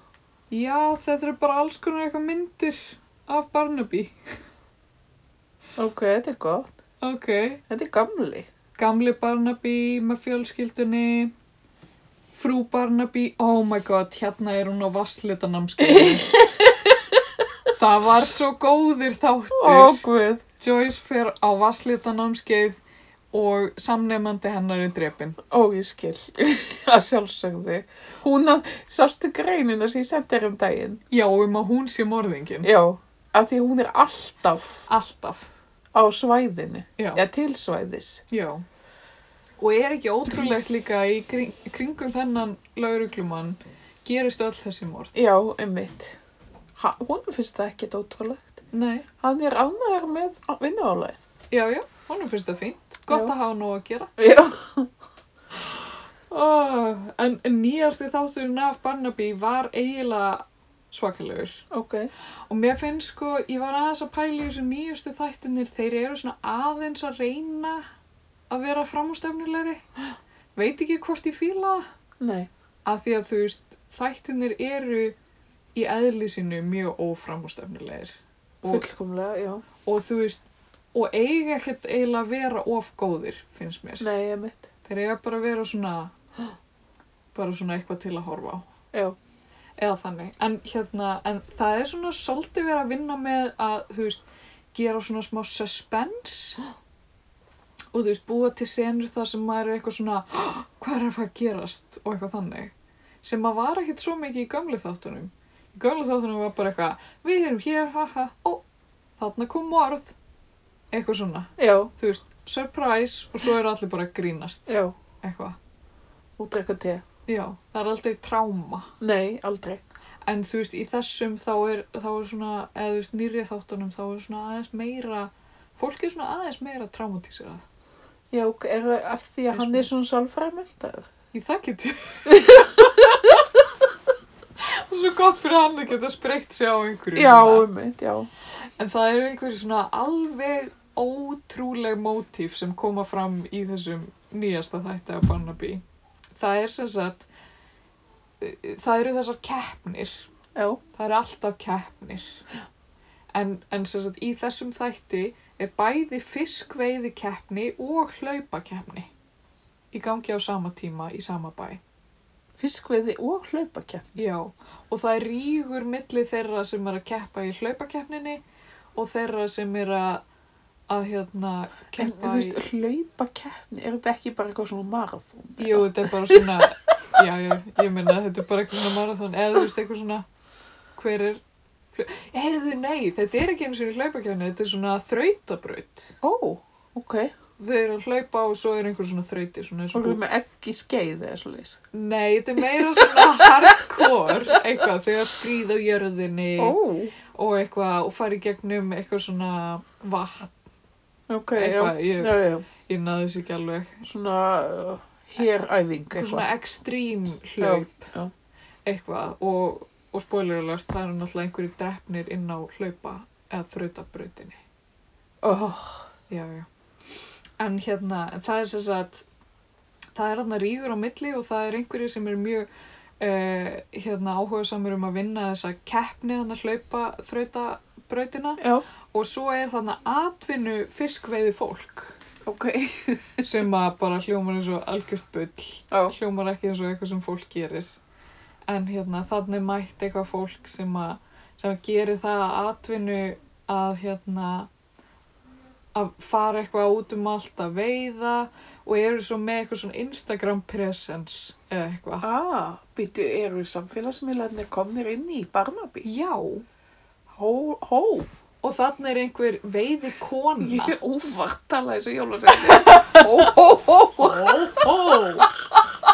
[SPEAKER 2] já þetta er bara alls konar eitthvað myndir af Barnaby
[SPEAKER 1] Ok, þetta er gott.
[SPEAKER 2] ok
[SPEAKER 1] Þetta er gamli.
[SPEAKER 2] gamli Barnaby með fjölskyldunni frú Barnaby oh my god, hérna er hún á vasslitanamskeiðinu það var svo góður þáttur
[SPEAKER 1] guð.
[SPEAKER 2] Joyce fer á vasslitanamskeið og samnefnandi hennar er drepin
[SPEAKER 1] Ó, ég skil. að sjálfsögðu. Hún að, sástu greinina sem ég sendi þér um daginn?
[SPEAKER 2] já, um að hún sé morðingin
[SPEAKER 1] Já. Af því hún er alltaf
[SPEAKER 2] alltaf,
[SPEAKER 1] á svæðinu.
[SPEAKER 2] já,
[SPEAKER 1] Eða til svæðis.
[SPEAKER 2] já og er ekki ótrúlegt líka í kring, kringum þennan lauruglumann gerist öll þessi morð
[SPEAKER 1] Já, einmitt. Ha, hún finnst það ekkit ótrúlegt.
[SPEAKER 2] nei,
[SPEAKER 1] Hann er ánægur með vinnuálæð.
[SPEAKER 2] já, já, honum finnst það fínt gott
[SPEAKER 1] Já.
[SPEAKER 2] að hafa nóg að gera
[SPEAKER 1] Já.
[SPEAKER 2] Oh, en en nýjasti þátturinn af Barnaby var eiginlega svakalegur
[SPEAKER 1] Ok.
[SPEAKER 2] og mér finnst sko, ég var aðeins að pæla í þessu nýjustu þættinir, þeir eru svona aðeins að reyna að vera framústefnilegri veit ekki hvort ég fíla það
[SPEAKER 1] Nei.
[SPEAKER 2] að því að þú veist, þættinir eru í eðlisinu mjög óframústefnilegir og,
[SPEAKER 1] Fullkomlega, já.
[SPEAKER 2] og þú veist og eiga ekkert eiginlega að vera of góðir, finnst mér
[SPEAKER 1] Nei, einmitt.
[SPEAKER 2] þeir eiga bara að vera svona bara svona eitthvað til að horfa á
[SPEAKER 1] Já.
[SPEAKER 2] eða þannig, en hérna en það er svona svolítið verið að vinna með að, þú veist, gera svona smá suspense og þú veist, búa til senur þar sem maður er eitthvað svona, hvað er að fara að gerast og eitthvað þannig, sem að var ekkert svo mikið í gömlu þáttunum í gömlu þáttunum var bara eitthvað, við erum hér haha, ó, þarna kom morð eitthvað svona,
[SPEAKER 1] Já.
[SPEAKER 2] þú veist surprise og svo eru allir bara að grínast
[SPEAKER 1] Já.
[SPEAKER 2] eitthvað,
[SPEAKER 1] Og drekka te.
[SPEAKER 2] já, það er aldrei tráma
[SPEAKER 1] Nei, aldrei.
[SPEAKER 2] En þú veist, í þessum þá er, þá er svona, eða þú veist, nýrið þáttunum þá er svona aðeins meira, fólk er svona aðeins meira traumatíserað.
[SPEAKER 1] Já, ok, er það af því að
[SPEAKER 2] Finnst
[SPEAKER 1] hann
[SPEAKER 2] mér.
[SPEAKER 1] er svona sálfræðmyndaður?
[SPEAKER 2] Í það getur. Og svo gott fyrir hann að geta spreytt sig á einhverju.
[SPEAKER 1] Já,
[SPEAKER 2] Svona.
[SPEAKER 1] einmitt, já.
[SPEAKER 2] En það eru einhverju svona alveg ótrúleg mótíf sem koma fram í þessum nýjasta þætti af Barnaby. Það er sem sagt, eh, það eru þessar keppnir
[SPEAKER 1] Já,
[SPEAKER 2] Það eru alltaf keppnir. En, en sem sagt, í þessum þætti er bæði fiskveiði keppni og hlaupakeppni í gangi á sama tíma í sama bæ.
[SPEAKER 1] fiskveiði og hlaupakepp.
[SPEAKER 2] Já, og það er rígur milli þeirra sem er að keppa í hlaupakeppninni og þeirra sem er að, að hérna,
[SPEAKER 1] En
[SPEAKER 2] keppa
[SPEAKER 1] þú
[SPEAKER 2] í...
[SPEAKER 1] veist, hlaupakeppni, er þetta ekki bara eitthvað svona marathón?
[SPEAKER 2] Jú, þetta er bara svona, já, já, ég meina þetta er bara eitthvað svona marathon, eða þú veist eitthvað svona, hver er, heyrðu, nei, þetta er ekki eins og í hlaupakefni, þetta er svona þrautabraut.
[SPEAKER 1] Ó, ok.
[SPEAKER 2] Þau eru að hlaupa og svo er einhver svona þrauti, svona eins
[SPEAKER 1] Svo
[SPEAKER 2] og
[SPEAKER 1] erum
[SPEAKER 2] bú.
[SPEAKER 1] við ekki skeið eða svo leys.
[SPEAKER 2] Nei, þetta er meira svona hardcore, eitthvað, þau að skríða á jörðinni
[SPEAKER 1] Ó,
[SPEAKER 2] og eitthvað, og fara í gegnum eitthvað svona vatn,
[SPEAKER 1] ok,
[SPEAKER 2] Eitthvað,
[SPEAKER 1] já.
[SPEAKER 2] ég-
[SPEAKER 1] Já, já,
[SPEAKER 2] ég naði þessi ekki alveg,
[SPEAKER 1] svona uh, héræfing
[SPEAKER 2] eitthvað svona
[SPEAKER 1] eitthvað.
[SPEAKER 2] ekstrím hlaup.
[SPEAKER 1] Já, já.
[SPEAKER 2] eitthvað og, og spoiler alert, það eru náttúrulega einhverjir drefnir inn á hlaupa eða þrautabrautinni.
[SPEAKER 1] Oh,
[SPEAKER 2] Já, já. En hérna, en það er sem sagt, það er hérna ríður á milli og það er einhverjir sem er mjög uh, hérna áhuga samur um að vinna þessa keppni þannig að hlaupa þrautabrautina
[SPEAKER 1] já,
[SPEAKER 2] og svo er þannig atvinnu fiskveiði fólk
[SPEAKER 1] ok.
[SPEAKER 2] sem að bara hljómar eins og algjört bull
[SPEAKER 1] Já.
[SPEAKER 2] hljómar ekki eins og eitthvað sem fólk gerir en hérna þannig mætt eitthvað fólk sem að sem gerir það að atvinnu að hérna að fara eitthvað út um allt að veiða og eru svo með eitthvað svona Instagram presence eða eitthvað
[SPEAKER 1] Ah, býtu, eru samfélagsmiðlarnir komnir inn í Barnaby?
[SPEAKER 2] Já,
[SPEAKER 1] Hó, hó,
[SPEAKER 2] og þannig er einhver veiði
[SPEAKER 1] ég
[SPEAKER 2] kona
[SPEAKER 1] er óvart talað þessu jólasegni.
[SPEAKER 2] Ó, ó, ó, ó
[SPEAKER 1] Hó, hó.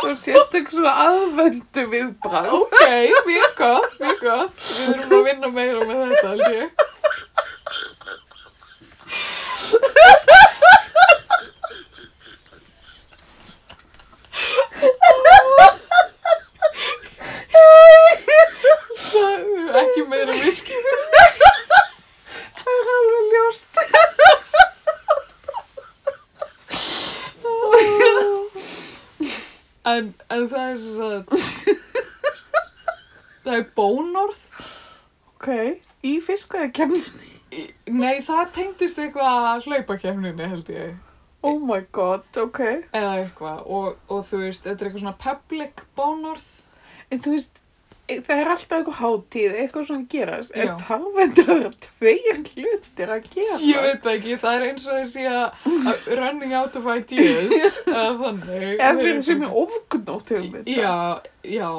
[SPEAKER 1] Þú sést ekki svona aðvendu viðbrá.
[SPEAKER 2] Ok, mjög gott, mjög gott. Við erum að vinna meira með þetta, held ég. Það er ekki meira viski.
[SPEAKER 1] Það er alveg ljóst.
[SPEAKER 2] En, en það er svo að... Það er bónorð.
[SPEAKER 1] Ok, í fiskveið kemni.
[SPEAKER 2] Nei, það tengdist eitthvað hlaupakefninni, held ég.
[SPEAKER 1] Oh my god, ok.
[SPEAKER 2] eða eitthvað og, og þú veist, þetta er eitthvað svona public bónorð
[SPEAKER 1] En þú veist, e, það er alltaf eitthvað hátíð, eitthvað svona gerast. En
[SPEAKER 2] Já.
[SPEAKER 1] það vendur að vera tveir hlutir að gera.
[SPEAKER 2] ég veit það ekki, það er eins og þessi að að running out of ideas eða þannig
[SPEAKER 1] Ef þeir sem er ofgnótt hugmynda.
[SPEAKER 2] já, já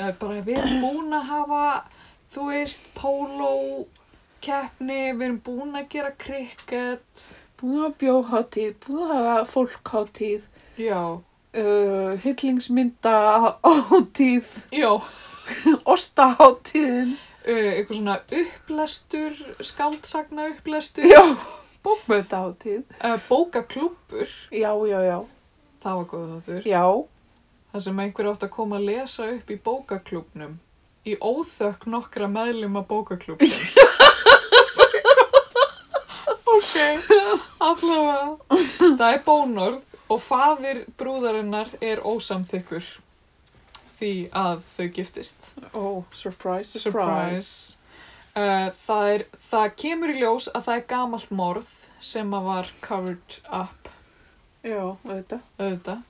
[SPEAKER 2] eða bara við erum búin að hafa þú veist, póló keppni, við erum búin að gera krikket
[SPEAKER 1] Búin að bjóðháttíð, búin að hafa fólkháttíð,
[SPEAKER 2] já,
[SPEAKER 1] uh, hillingsmyndaháttíð,
[SPEAKER 2] já
[SPEAKER 1] ostaháttíðin.
[SPEAKER 2] uh, eitthvað svona upplestur skaldsagna upplestur
[SPEAKER 1] Já, bókmöndaháttíð.
[SPEAKER 2] uh, bókaklúppur,
[SPEAKER 1] Já, já, já.
[SPEAKER 2] það var góð þáttur
[SPEAKER 1] Já,
[SPEAKER 2] þar sem einhver átt að koma að lesa upp í bókaklúbnum í óþökk nokkra meðlum að bókaklúbnum ok allavega það er bónorð og faðir brúðarinnar er ósamþykkur því að þau giftist
[SPEAKER 1] oh, surprise, surprise.
[SPEAKER 2] surprise uh, það, er, það kemur í ljós að það er gamalt morð sem að var covered up
[SPEAKER 1] Já, auðvitað.
[SPEAKER 2] auðvitað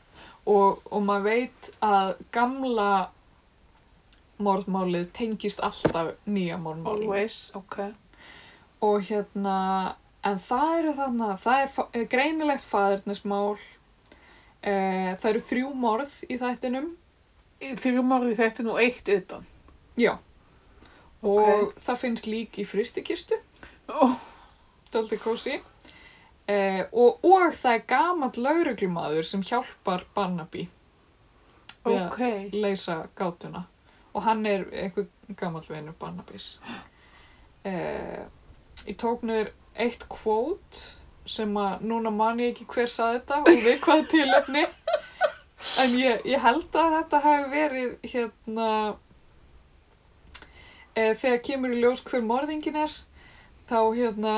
[SPEAKER 2] og, og maður veit að gamla morðmálið tengist alltaf nýja morðmálið
[SPEAKER 1] Always, ok.
[SPEAKER 2] og hérna en það eru þarna, það er fa- eh, greinilegt faðurnismál eh, það eru þrjú morð í þættinum
[SPEAKER 1] Þrjum árið þetta er nú eitt utan.
[SPEAKER 2] já og
[SPEAKER 1] Ok.
[SPEAKER 2] það finnst lík í fristikistu
[SPEAKER 1] Oh,
[SPEAKER 2] daldi kósi eh, og, og það er gamall lauruglumadur sem hjálpar Barnaby við að
[SPEAKER 1] ok.
[SPEAKER 2] leysa gátuna og hann er einhver gammal vinur Barnabys eh, ég tók nýr eitt kvót sem að núna man ég ekki hver sað þetta og við hvað tilöfni en ég, ég held að þetta hafi verið hérna eh, þegar kemur í ljós hver morðingin er þá hérna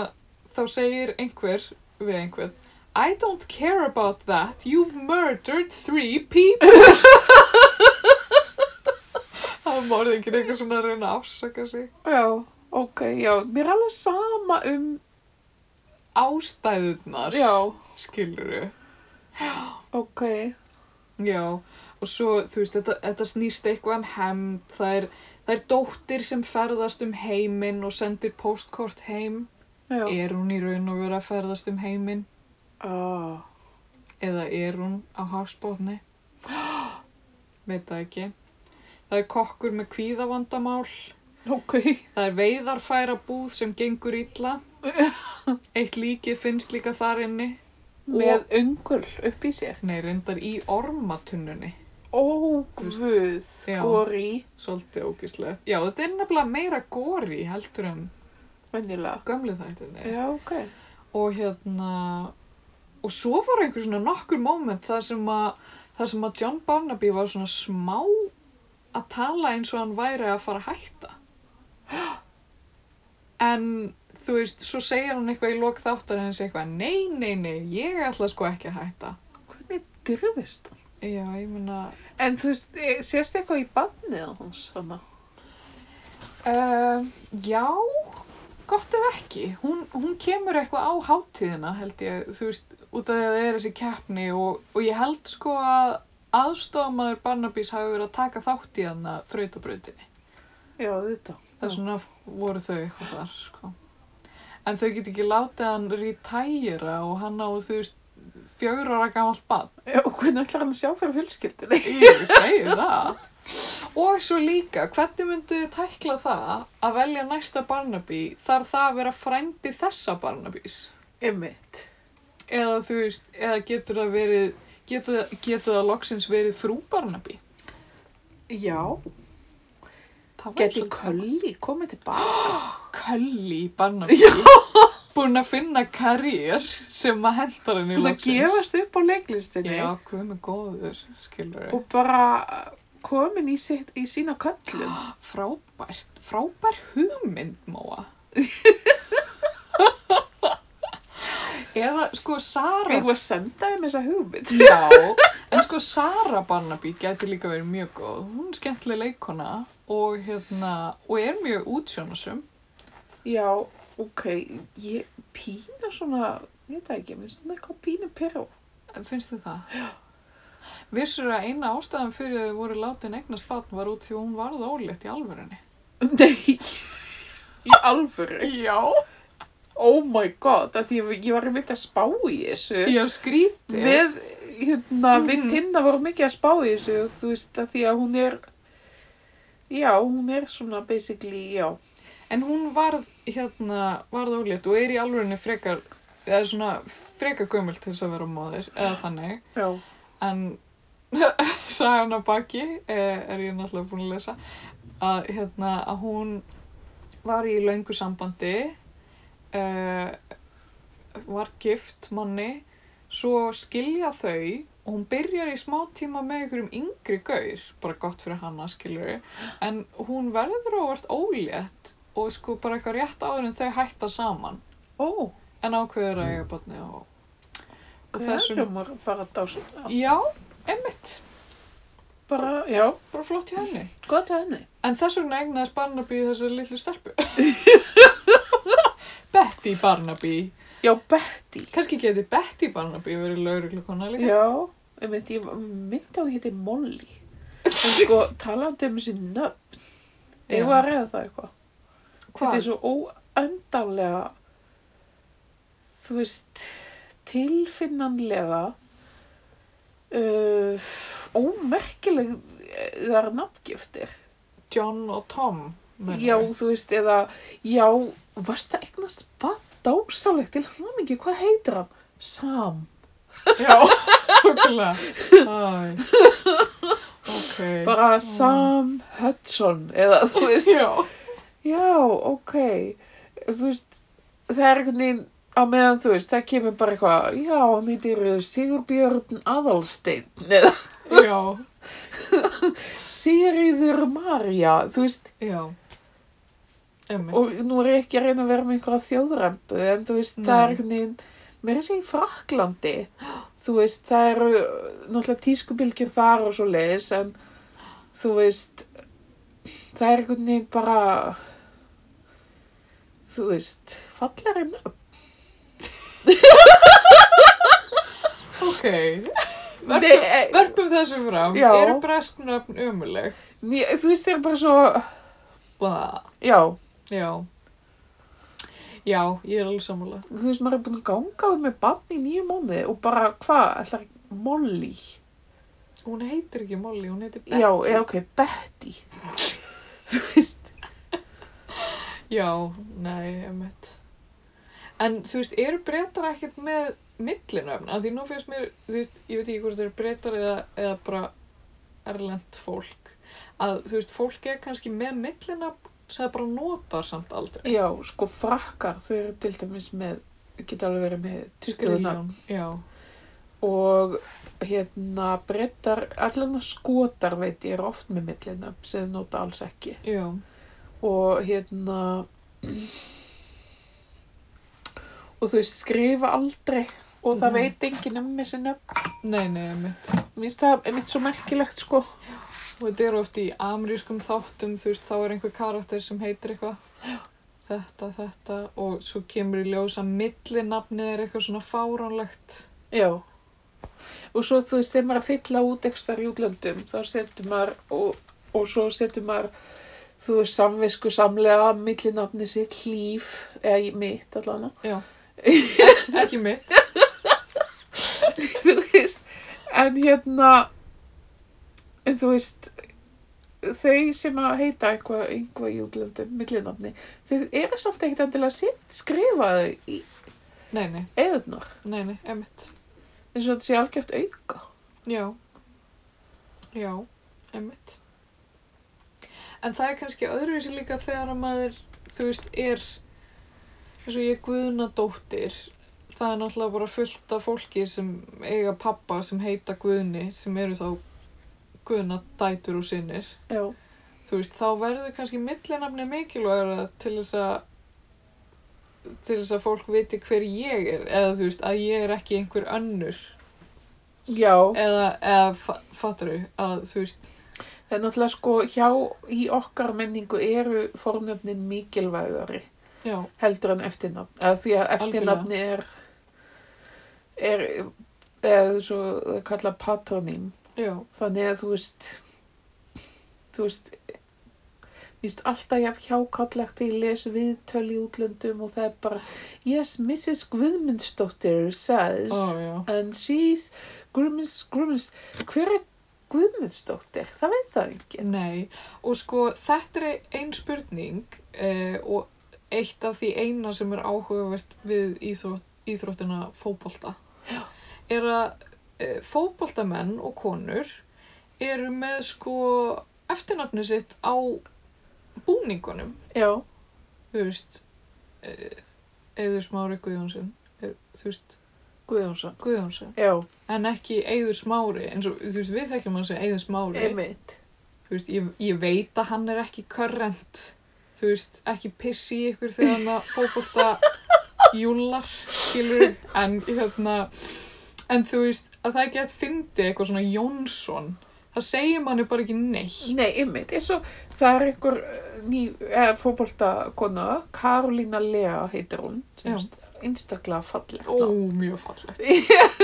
[SPEAKER 2] þá segir einhver við einhver I don't care about that you've murdered three people Það morði ekki eitthvað svona að reyna að afsaka sig.
[SPEAKER 1] Já, ok, já. Mér er alveg sama um,
[SPEAKER 2] Ástæðurnar,
[SPEAKER 1] já,
[SPEAKER 2] skilur við.
[SPEAKER 1] ok.
[SPEAKER 2] Já, og svo, þú veist, þetta, þetta snýst eitthvað um hemd. Það er, það er dóttir sem ferðast um heiminn og sendir postkort heim.
[SPEAKER 1] Já.
[SPEAKER 2] Er hún í raun og vera að ferðast um heiminn?
[SPEAKER 1] Ah,
[SPEAKER 2] Eða er hún á hafsbótni? Veit það ekki. Það er kokkur með kvíðavandamál.
[SPEAKER 1] ok.
[SPEAKER 2] Það er veiðarfæra búð sem gengur illa. Eitt líkið finnst líka þar inni.
[SPEAKER 1] Með ungul upp í sér.
[SPEAKER 2] Nei, reyndar í ormatunnunni.
[SPEAKER 1] Ó, guð,
[SPEAKER 2] Já.
[SPEAKER 1] góri,
[SPEAKER 2] Svolítið ógislegt. Já, þetta er nefnilega meira góri heldur en
[SPEAKER 1] vennilega.
[SPEAKER 2] gömlu þættinni.
[SPEAKER 1] Já, ok.
[SPEAKER 2] Og hérna, og svo var einhver svona nokkur moment þar sem að, þar sem að John Barnaby var svona smá að tala eins og hann væri að fara að hætta. En þú veist, svo segir hann eitthvað í lok þáttar en eitthvað, nei, nei, nei, ég ætla sko ekki að hætta.
[SPEAKER 1] Hvernig drifist hann?
[SPEAKER 2] Já, ég meina,
[SPEAKER 1] En þú veist, eh, sést eitthvað í bannið hans hana?
[SPEAKER 2] Uh, Eh, já, gott ef ekki. Hún, hún kemur eitthvað á hátíðina, held ég, þú veist, út af því að það er þessi keppni og, og ég held sko að aðstofamaður Barnabys hafi verið að taka þátt í hana þrautabrautinni.
[SPEAKER 1] Já, þetta.
[SPEAKER 2] Það er svona voru þau eitthvað þar, sko. En þau get ekki látið hann retæra og hann á, þú veist, fjögur ára gamalt bann.
[SPEAKER 1] Já, og hvernig ætlar hann að sjá fyrir fjölskyldinni?
[SPEAKER 2] Ég segi það. Og svo líka, hvernig myndu þið tækla það að velja næsta Barnaby þar það að vera frændi þessa Barnabys?
[SPEAKER 1] Emmitt.
[SPEAKER 2] Eða þú veist, eða getur það verið, getur, getur það loksins verið frú Barnaby?
[SPEAKER 1] Já,
[SPEAKER 2] Það væri
[SPEAKER 1] geti
[SPEAKER 2] svolítið-
[SPEAKER 1] Kölli komið tilbaka.
[SPEAKER 2] Kölli Barnaby. Búin að finna karýr sem að hendar henni
[SPEAKER 1] Það gefast upp á leiklistinni
[SPEAKER 2] Já, hvað með góður, skilur
[SPEAKER 1] og bara komin í, sitt, í sína köllum.
[SPEAKER 2] Frábært, frábær hugmynd, Móa. Eða, sko, Sara...
[SPEAKER 1] Ég var að senda þeim þessa hugmynd.
[SPEAKER 2] Já, en sko, Sara Barnaby gæti líka verið mjög góð. Hún er skemmtileg leikona og, hérna, og er mjög útsjónasum.
[SPEAKER 1] Já, ok, ég pína svona, ég veit það ekki, minnst það með eitthvað pínu peró.
[SPEAKER 2] Finnst þið það? Já. Vissur að eina ástæðan fyrir að þau voru látin eignast barn var út því að hún varð ólétt í alvörinni.
[SPEAKER 1] Nei, í alvöru.
[SPEAKER 2] Já.
[SPEAKER 1] Oh my god, að því ég, ég var einmitt að spá í þessu.
[SPEAKER 2] Ég er skrítið.
[SPEAKER 1] Við, hérna, við tinnar vorum mikið að spá í þessu, þú veist, að því að hún er, já, hún er svona basically, já,
[SPEAKER 2] En hún varð, hérna, varð ólétt og er í alvörinni frekar, eða svona frekar gömul til þess að vera móðir, eða þannig.
[SPEAKER 1] já,
[SPEAKER 2] En sagan að baki, eh, er ég náttúrulega búin að lesa, að, hérna, að hún var í löngu sambandi, eh, var gift manni, svo skilja þau og hún byrjar í smá tíma með einhverjum yngri gaur, bara gott fyrir hana skiljur en hún verður ávart ólétt og sko bara eitthvað rétt áður en þau hætta saman
[SPEAKER 1] ó,
[SPEAKER 2] en ákveður að eiga barni og, og
[SPEAKER 1] það
[SPEAKER 2] þessum,
[SPEAKER 1] erum við bara dásan,
[SPEAKER 2] já, emmitt
[SPEAKER 1] bara, já,
[SPEAKER 2] bara flott hjá henni
[SPEAKER 1] gott að henni.
[SPEAKER 2] en þess vegna egnaðist Barnaby þessari litlu stelpu Betty Barnaby
[SPEAKER 1] Já, Betty,
[SPEAKER 2] kannski geti Betty Barnaby verið lauruglukona líka
[SPEAKER 1] já, ég myndi, ég myndi á að héti Molly, en sko, talandi um þessi nöfn, ég var að reyða það eitthvað. Þetta er
[SPEAKER 2] hvað,
[SPEAKER 1] svo óendanlega, þú veist, tilfinnanlega, uh, ómerkilegar nafngiftir.
[SPEAKER 2] John og Tom meinarðu?
[SPEAKER 1] Já, þú veist, eða, já, varst að eignast hvað dásalegt til hamingi, hvað heitir hann? Sam.
[SPEAKER 2] já, okkurlega ok
[SPEAKER 1] Bara Sam Hudson, eða þú veist,
[SPEAKER 2] já
[SPEAKER 1] já, ok, þú veist, það er einhvern veginn, á meðan þú veist, það kemur bara eitthvað, já, hann heitir Sigurbjörn Aðalsteinn, eða
[SPEAKER 2] Já,
[SPEAKER 1] Sigriður Marja, þú veist,
[SPEAKER 2] já. Emmitt.
[SPEAKER 1] og nú er ég ekki að reyna að vera með einhverja þjóðrempu, en þú veist, það
[SPEAKER 2] Nei.
[SPEAKER 1] er einhvern veginn, mér er sér í Fraklandi, þú veist, það eru uh, náttúrulega tískubilgjur þar og svo leiðis, en þú veist, það er einhvern veginn bara, þú veist, fallar en upp.
[SPEAKER 2] ok.
[SPEAKER 1] Nei, eh,
[SPEAKER 2] Verpum þessu fram.
[SPEAKER 1] Já.
[SPEAKER 2] Eru bresknöfn ömuleg?
[SPEAKER 1] né- Þú veist, það er bara svo,
[SPEAKER 2] Bá.
[SPEAKER 1] já,
[SPEAKER 2] Já. Já, ég er alveg sammála.
[SPEAKER 1] þú veist, maður er búin að ganga með barn í nýju mónuði og bara, hvað, ætlar Molly?
[SPEAKER 2] Hún heitir ekki Molly, hún heitir Betty.
[SPEAKER 1] Já, eða ok, Betty. Þú veist,
[SPEAKER 2] Já, nei, emmitt. En þú veist, eru breytar ekkert með millinöfn? Af því nú finnst mér, þú veist, ég veit ekki hvort það eru breytar eða, eða bara erlend fólk. Að þú veist, fólk er kannski með millinöfn sem það bara notar samt aldrei.
[SPEAKER 1] já, sko frakkar, þau eru til dæmis með, geta alveg verið með tuttugunar
[SPEAKER 2] Skriljón, já.
[SPEAKER 1] og hérna brettar, allan að skotar veit ég er oft með millina sem þau nota alls ekki
[SPEAKER 2] Já,
[SPEAKER 1] og hérna og þau skrifa aldrei og það
[SPEAKER 2] Mhm.
[SPEAKER 1] veit enginn um þessi nöfn
[SPEAKER 2] nei, nei, mitt.
[SPEAKER 1] Mér finnst það einmitt svo merkilegt sko
[SPEAKER 2] Og þetta eru oft í amerískum þáttum, þú veist, þá er einhver karakter sem heitir eitthvað. þetta, þetta og svo kemur í ljós að millinafnið er eitthvað svona fáránlegt.
[SPEAKER 1] Já. Og svo þú veist, þegar maður er að fylla út ekstra rjúglöndum, þá setur maður, og, og svo setur maður, þú veist, samvisku samlega, millinafni sitt, hlýf, eða í mitt allan,
[SPEAKER 2] Já. Ekki mitt.
[SPEAKER 1] þú veist, en hérna, en þú veist, þau sem að heita einhvað, einhvað í útlöndum, millinafni, þau eru samt ekkert endilega sitt, skrifa þau í
[SPEAKER 2] Nei, nei,
[SPEAKER 1] eðunar,
[SPEAKER 2] nei, nei, emitt.
[SPEAKER 1] eins og þetta sé algjört auka.
[SPEAKER 2] Já, já, einmitt. En það er kannski öðruvísi líka þegar að maður, þú veist, er, eins og ég er Guðnadóttir, það er náttúrulega bara fullt af fólki sem eiga pappa sem heita Guðni, sem eru þá Guðnadætur og sinnir.
[SPEAKER 1] Já,
[SPEAKER 2] Þú veist, þá verður kannski millinafni mikilvægra til þess að til þess að fólk viti hver ég er eða þú veist að ég er ekki einhver önnur
[SPEAKER 1] já.
[SPEAKER 2] eða, eða fa- fattaru að þú veist
[SPEAKER 1] Það er náttúrulega sko hjá í okkar menningu eru fornöfnin mikilvægari
[SPEAKER 2] já,
[SPEAKER 1] heldur en eftirnafn. Eða því að eftirnafni er, er eða svo kalla patronym.
[SPEAKER 2] já,
[SPEAKER 1] Þannig að þú veist, þú veist, víst alltaf jafn hjákallegt ég les viðtöl í útlöndum og það er bara, yes, Mrs. Guðmundsdóttir says,
[SPEAKER 2] ó já
[SPEAKER 1] and she's Guðmunds, Guðmunds, hver er Guðmundsdóttir? Það veit það enginn.
[SPEAKER 2] nei, og sko þetta er ein spurning uh, og eitt af því eina sem er áhugavert við íþrótt, íþróttina fótbolta er að uh, fótboltamenn og konur eru með sko eftirnafni sitt á búningunum
[SPEAKER 1] Já.
[SPEAKER 2] þú veist uh, Eður Smári Guðjónsson er, þú veist
[SPEAKER 1] Guðjónsson.
[SPEAKER 2] Guðjónsson
[SPEAKER 1] Já,
[SPEAKER 2] en ekki Eyður Smári eins og þú veist við þekkjum hann sem Eyður Smári
[SPEAKER 1] einmitt.
[SPEAKER 2] þú veist ég, ég veit að hann er ekki körrent þú veist ekki pissi í ykkur þegar hann að fókbólta júlar skilur en hérna en þú veist að það ekki að fyndi eitthvað svona Jónsson það segir manni bara ekki neitt
[SPEAKER 1] Nei, einmitt. Eins og það er einhver eh, ný eh, fótboltakona, Karolina Lea heitir hún, sem
[SPEAKER 2] Já.
[SPEAKER 1] er einstaklega fallegt.
[SPEAKER 2] ó
[SPEAKER 1] nafn.
[SPEAKER 2] mjög fallegt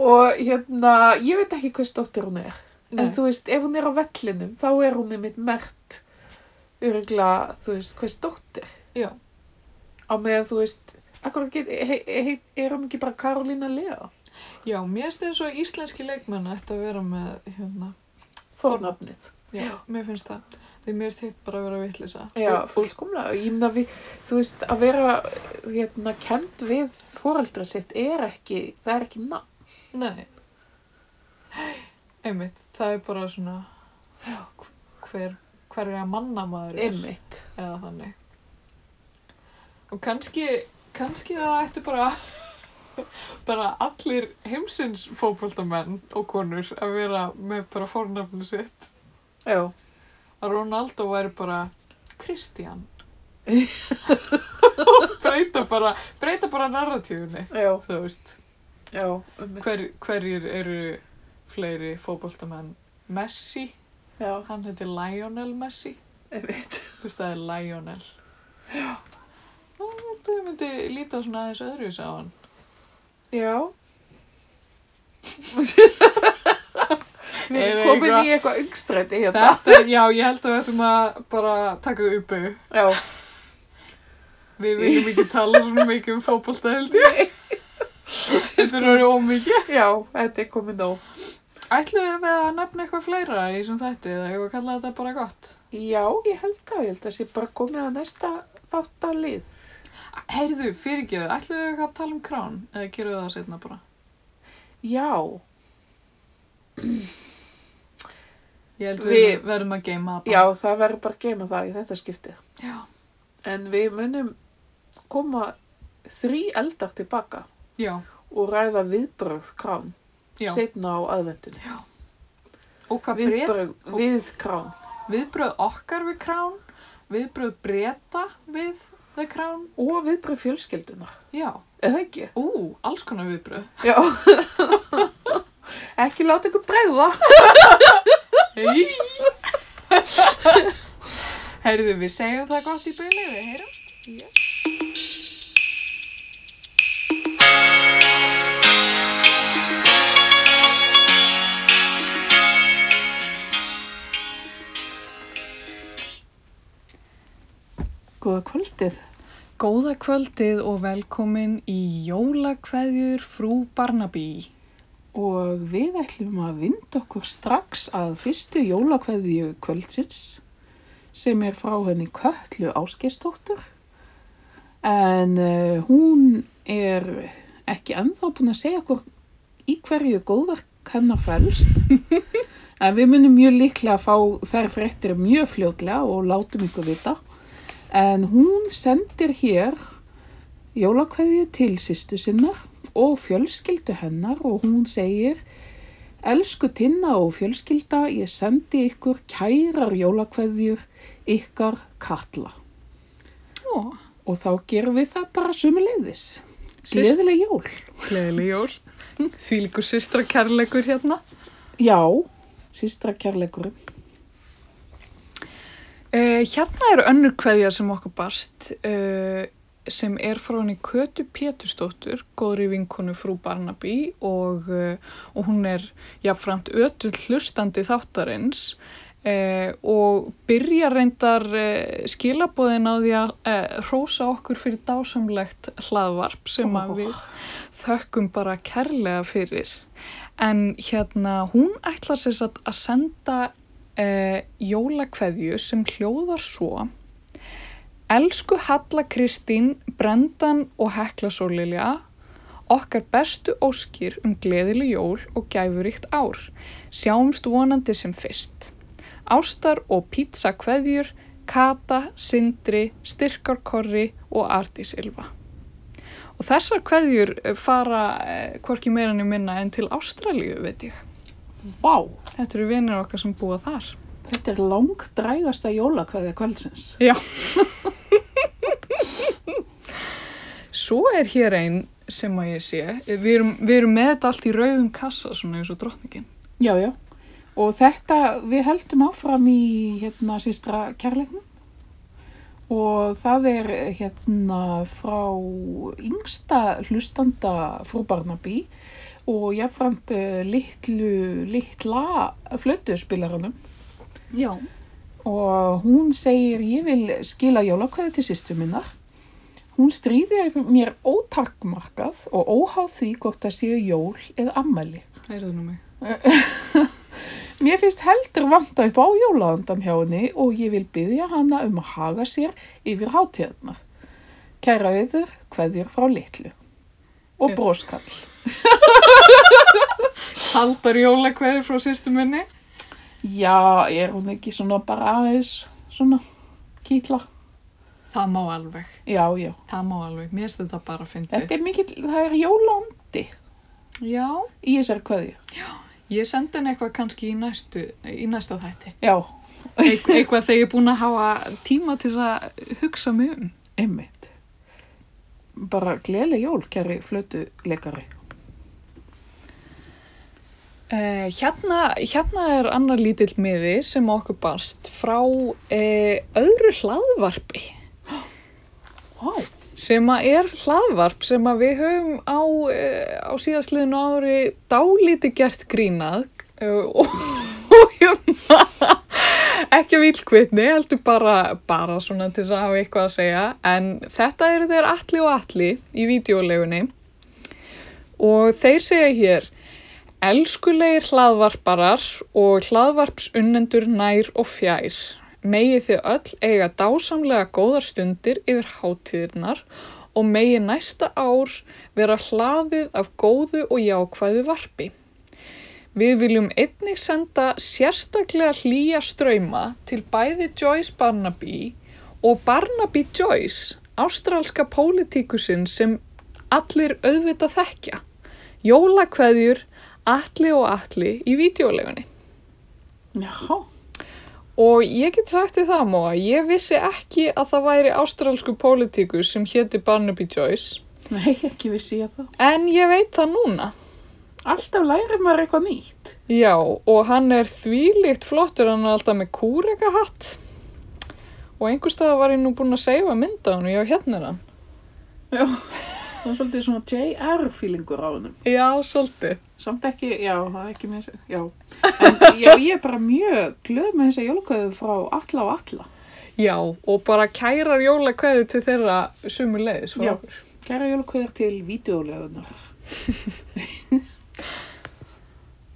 [SPEAKER 1] Og hérna, ég veit ekki hvers dóttir hún er. En
[SPEAKER 2] Nei.
[SPEAKER 1] þú veist, ef hún er á vellinum, þá er hún einmitt mert örugla, þú veist, hvers dóttir.
[SPEAKER 2] Já.
[SPEAKER 1] Á meðan þú veist, akkur get, he, he, er hún ekki bara Karolina Lea?
[SPEAKER 2] já mér finnst eins og íslenski leikmenn ætti að vera með hérna
[SPEAKER 1] Fornafnið.
[SPEAKER 2] já, mér finnst það því mér finnst hitt bara að vera vittlisa
[SPEAKER 1] Já, fullkomlega. Ég meina við, þú veist, að vera hérna kend við fóreldra sitt er ekki, það er ekki nafn.
[SPEAKER 2] Nei. Einmitt, það er bara svona hver, hver er að manna maður er
[SPEAKER 1] Einmitt.
[SPEAKER 2] eða þannig. Og kannski, kannski það ættu bara bara allir heimsins fótboltamenn og konur að vera með bara fornafni sitt.
[SPEAKER 1] Já.
[SPEAKER 2] Að Ronaldo væri bara Kristján. og breyta bara, breyta bara narratífunni,
[SPEAKER 1] Já,
[SPEAKER 2] þú veist.
[SPEAKER 1] já, einmitt.
[SPEAKER 2] Hver, hverjir eru fleiri fótboltamenn? Messi,
[SPEAKER 1] Já,
[SPEAKER 2] hann heitir Lionel Messi,
[SPEAKER 1] einmitt.
[SPEAKER 2] þú veist það er Lionel. Já. Þú myndi líta svona aðeins öðruvis á hann.
[SPEAKER 1] Já. Við
[SPEAKER 2] Eða
[SPEAKER 1] erum komin
[SPEAKER 2] eitthvað-
[SPEAKER 1] í eitthvað yngstræti hérna.
[SPEAKER 2] Þetta, já, ég held að við ættum að bara taka uppu.
[SPEAKER 1] Já.
[SPEAKER 2] Við viljum ekki tala svona mikið um fótbolta held ég. Þetta er orðið ómikið.
[SPEAKER 1] Já, þetta er komið nóg.
[SPEAKER 2] Ætluðu við að nefna eitthvað fleira í sem þetta eða ég var að kalla þetta bara gott?
[SPEAKER 1] Já, ég held það, ég held að sé bara komið að næsta þáttalið.
[SPEAKER 2] Heyrðu, fyrirgeðu, ætluðu við að tala um krán eða gerum við það setna bara?
[SPEAKER 1] Já,
[SPEAKER 2] Ég held
[SPEAKER 1] Við-
[SPEAKER 2] við, verðum að geima það bara.
[SPEAKER 1] já, það verður bara að geima það í þetta skiptið.
[SPEAKER 2] Já.
[SPEAKER 1] En við munum koma þrý eldar tilbaka
[SPEAKER 2] Já,
[SPEAKER 1] og ræða viðbrögð krán
[SPEAKER 2] já.
[SPEAKER 1] setna á aðvendunni.
[SPEAKER 2] og hvað breyt,
[SPEAKER 1] Viðbrögð við krán.
[SPEAKER 2] viðbröð okkar við krán, viðbröð breyta við the crown,
[SPEAKER 1] Og viðbrögð fjölskyldunar.
[SPEAKER 2] já,
[SPEAKER 1] Eða ekki?
[SPEAKER 2] ú, alls konar viðbröð.
[SPEAKER 1] Já. ekki láta ykkur bregða.
[SPEAKER 2] Hei! Heyrðu, við segjum það gott í byrju, við heyrum. Já.
[SPEAKER 1] Góða kvöldið.
[SPEAKER 2] Góða kvöldið og velkomin í Jólakveðjur frú Barnaby.
[SPEAKER 1] Og við ætlum að vinda okkur strax að fyrstu jólakveðju kvöldsins sem er frá henni Köllu Áskeistóttur. En uh, hún er ekki ennþá búin að segja okkur í hverju góðverk hennar fælst. en við munum mjög líklega að fá þær fréttir mjög fljótlega og látum ykkur vita. En hún sendir hér jólakveðju til sýstu sinnar og fjölskyldu hennar og hún segir Elsku Tinna og fjölskylda, ég sendi ykkur kærar jólakveðjur ykkar Katla.
[SPEAKER 2] Ó,
[SPEAKER 1] Og þá gerum við það bara sumuleiðis.
[SPEAKER 2] Syst-
[SPEAKER 1] Gleðileg jól.
[SPEAKER 2] gleðileg jól. Því líkur sýstra kærleikur hérna.
[SPEAKER 1] Já, sístra kærleikurinn.
[SPEAKER 2] Uh, hérna er önnur kveðja sem okkur barst uh, sem er frá henni Kötu Pétursdóttur, góðri vinkonu frú Barnaby og, uh, og hún er jafnframt ötull hlustandi þáttarins uh, og byrjar reyndar uh, skilabóðin á því að uh, hrósa okkur fyrir dásamlegt hlaðvarp sem
[SPEAKER 1] Ó.
[SPEAKER 2] að við þökkum bara kærlega fyrir. En hérna, hún ætlar sér satt að senda uh, jólakveðju sem hljóðar svo Elsku Halla Kristín, Brendan og Hekla Sólilja, okkar bestu óskir um gleðileg jól og gæfuríkt ár. Sjáumst vonandi sem fyrst. Ástar og pizza kveðjur, Kata, Sindri, Styrkarkorri og Artís Ylva. Og þessar kveðjur eh, fara eh, hvorki meira en minna en til Ástralíu, veit ég.
[SPEAKER 1] Vá,
[SPEAKER 2] Þetta eru vinir okkar sem búa þar.
[SPEAKER 1] þetta er langdrægasta jólakveðja kvöldsins.
[SPEAKER 2] Já. Svo er hér einn sem að ég sé, við erum, við erum með þetta allt í rauðum kassa svona eins og drottningin.
[SPEAKER 1] Já, já. Og þetta, við heldum áfram í hérna sístra kærleiknum og það er hérna frá yngsta hlustanda frú Barnaby og jafnframt eh, litlu, litla flötuspilaranum
[SPEAKER 2] Já.
[SPEAKER 1] og hún segir ég vil skila jólakveði til sýstu minnar. Hún stríðir mér ótakmarkað og óháð því hvort það séu jól eða ammæli.
[SPEAKER 2] Það er það nú mig.
[SPEAKER 1] Mér finnst heldur vanta upp á jólaðandan hjá henni og ég vil byggja hana um að haga sér yfir hátíðarnar. Kæra auður, kveðjur frá litlu. Og
[SPEAKER 2] Já.
[SPEAKER 1] broskall.
[SPEAKER 2] Haldar jólakveður frá sýstu minni.
[SPEAKER 1] Já, er hún ekki svona bara aðeins svona kýtla?
[SPEAKER 2] Það má alveg,
[SPEAKER 1] Já, já.
[SPEAKER 2] það má alveg. Mér finnst þetta bara að fyndi.
[SPEAKER 1] Þetta er mikill, það er jólaðandi
[SPEAKER 2] Já.
[SPEAKER 1] í þessari kveðju.
[SPEAKER 2] Ég sendi henni eitthvað kannski í, næstu, í næsta þætti.
[SPEAKER 1] Já,
[SPEAKER 2] Eit, eitthvað þegar ég er búin að hafa tíma til þess að hugsa mig um.
[SPEAKER 1] einmitt. Bara gleðileg jól, kæri flötuleikari.
[SPEAKER 2] Uh, hérna, hérna er annar lítill miði sem okkur barst frá uh, öðru hlaðvarpi
[SPEAKER 1] Vá,
[SPEAKER 2] sem að er hlaðvarp sem að við höfum á, uh, á síðastliðinu ári dálíti gert grínað uh, og, og hérna, ekki af vilkvitni, heldur bara, bara svona til þess að hafa eitthvað að segja en þetta eru þeir allir og allir í vídeolegunni og þeir segja hér Elskulegir hlaðvarparar og hlaðvarpsunnendur nær og fjær. Megi þið öll eiga dásamlega góðar stundir yfir hátíðirnar og megi næsta ár vera hlaðið af góðu og jákvæðu varpi. Við viljum einnig senda sérstaklega hlýja ströyma til bæði Joyce Barnaby og Barnaby Joyce, ástralska pólitíkusinn sem allir auðvita þekkja. Jólakveðjur, alli og alli í videolegunni.
[SPEAKER 1] já.
[SPEAKER 2] Og ég get sagt því það, Móa, ég vissi ekki að það væri ástralsku pólitíkus sem héti Barnaby Joyce,
[SPEAKER 1] Nei, ekki vissi ég það.
[SPEAKER 2] en ég veit það núna.
[SPEAKER 1] Alltaf lærir maður eitthvað nýtt.
[SPEAKER 2] Já, og hann er þvílíkt flottur, hann er alltaf með kúrekahatt og einhver staða var ég nú búin að seifa mynda hann og ég á hérna er hann.
[SPEAKER 1] Já, það er svolítið svona JR-fílingur á hennum.
[SPEAKER 2] Já, svolítið.
[SPEAKER 1] Samt ekki, já, það er ekki mér, já. En já, ég er bara mjög glöð með þessa jólaköðu frá alla og alla.
[SPEAKER 2] Já, og bara kærar jólakveðu til þeirra sumu leiðis frá
[SPEAKER 1] Já.
[SPEAKER 2] okkur.
[SPEAKER 1] Kæra jólaköður til vídeolegunar.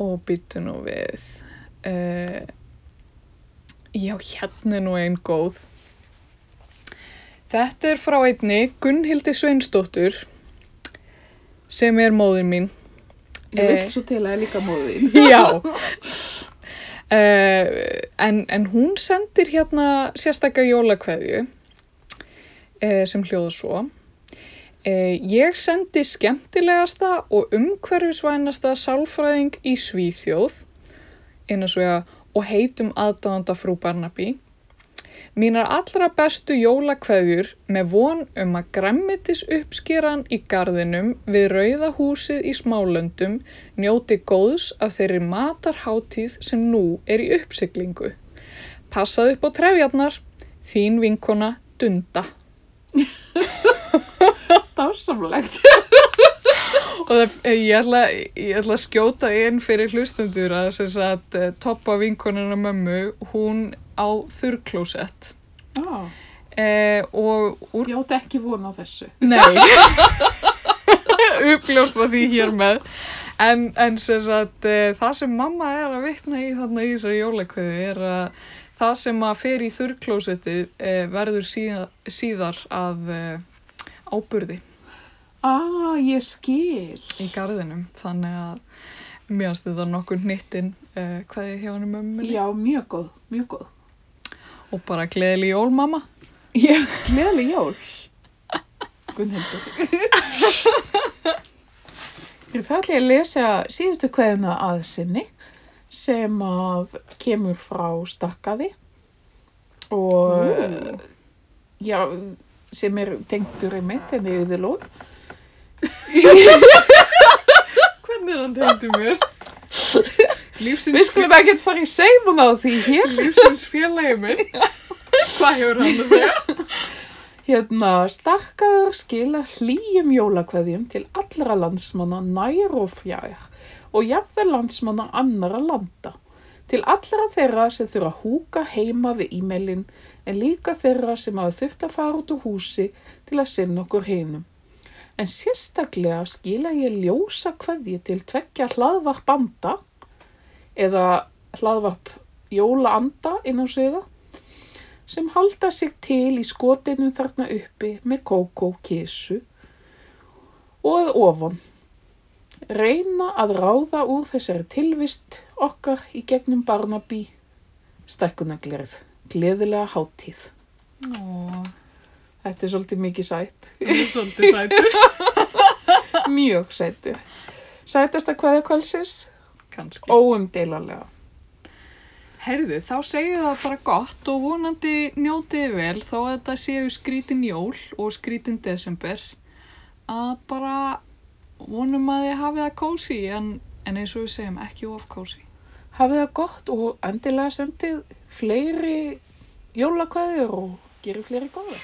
[SPEAKER 2] Og býtu nú við. Uh, já, hérna er nú einn góð. Þetta er frá einni Gunnhildi Sveinsdóttur sem er móðir mín.
[SPEAKER 1] Ég
[SPEAKER 2] Eh.
[SPEAKER 1] vil svo til að ég er líka móðin.
[SPEAKER 2] Já. Uh, en, en hún sendir hérna sérstakka jólakveðju uh, sem hljóða svo. Uh, ég sendi skemmtilegasta og umhverfisvænasta sálfræðing í Svíþjóð innan svo ég og heitum aðdáðanda frú Barnaby. Mínar allra bestu jólakveðjur með von um að græmmitis uppskeran í garðinum við rauða húsið í smálöndum njóti góðs af þeirri matarháttíð sem nú er í uppsiglingu. Passað upp á trefjarnar, þín vinkona Dunda.
[SPEAKER 1] Dásamlegt.
[SPEAKER 2] Og það, eh, ég, ætla, ég ætla að skjóta inn fyrir hlustundur að þess að toppa vinkonina mömmu, hún á þurrklósett.
[SPEAKER 1] Já,
[SPEAKER 2] Eh, og úr
[SPEAKER 1] ég átti ekki vona á þessu.
[SPEAKER 2] Nei Uppljóst var því hér með En, en sem sagt, e, það sem mamma er að vitna í þarna í þessari jólakveðu er að það sem að fer í þurrklósetti e, verður síða, síðar að e, áburði
[SPEAKER 1] Ah, ég skil.
[SPEAKER 2] í garðinum þannig að mér finnst þetta nokkur nýttin e, hvað ég hjá hann um ömmunni
[SPEAKER 1] Já, mjög góð, mjög góð.
[SPEAKER 2] og bara gleðileg jól mamma
[SPEAKER 1] Já, gleðileg jól. Gunnhildur. Ég það ætla ég að lesa síðustu kveðina að sinni sem að kemur frá stakkaði og já, sem er tengdur í mitt en í yðurlóð.
[SPEAKER 2] Hvernig er hann tegndi mér?
[SPEAKER 1] Við
[SPEAKER 2] Lífsins,
[SPEAKER 1] skulum ekkert fara í saumun á því hér.
[SPEAKER 2] lífsins félagi minn Hvað hefur hann að segja?
[SPEAKER 1] Hérna, stakkaður skila hlýjum jólakveðjum til allra landsmanna nær og fjær og jafnvel landsmanna annara landa. Til allra þeirra sem þurfa að húka heima við e-mailin en líka þeirra sem hafa þurft að fara út úr húsi til að sinna okkur hinum. En sérstaklega skila ég ljósa kveðju til tveggja hlaðvarp banda eða hlaðvarp jólaanda innan siga sem halda sig til í skotinu þarna uppi með kókó kísu og að ofan. Reyna að ráða úr þessari tilvist okkar í gegnum Barnaby stækkunaglerð, gleðilega hátíð.
[SPEAKER 2] Ó,
[SPEAKER 1] Þetta er svolítið mikið sætt.
[SPEAKER 2] það er svolítið sætur.
[SPEAKER 1] Mjög sættur. Sætasta hvaða kvælsins?
[SPEAKER 2] Kanski.
[SPEAKER 1] Óumdeilanlega.
[SPEAKER 2] Herðu, þá segju það bara gott og vonandi njótið vel þó að þetta séu skrítin jól og skrítin desember að bara vonum að þið hafið það kósi en, en eins og við segjum ekki of kósi.
[SPEAKER 1] Hafið það gott og endilega sendið fleiri jólakvæður og gerið fleiri góða.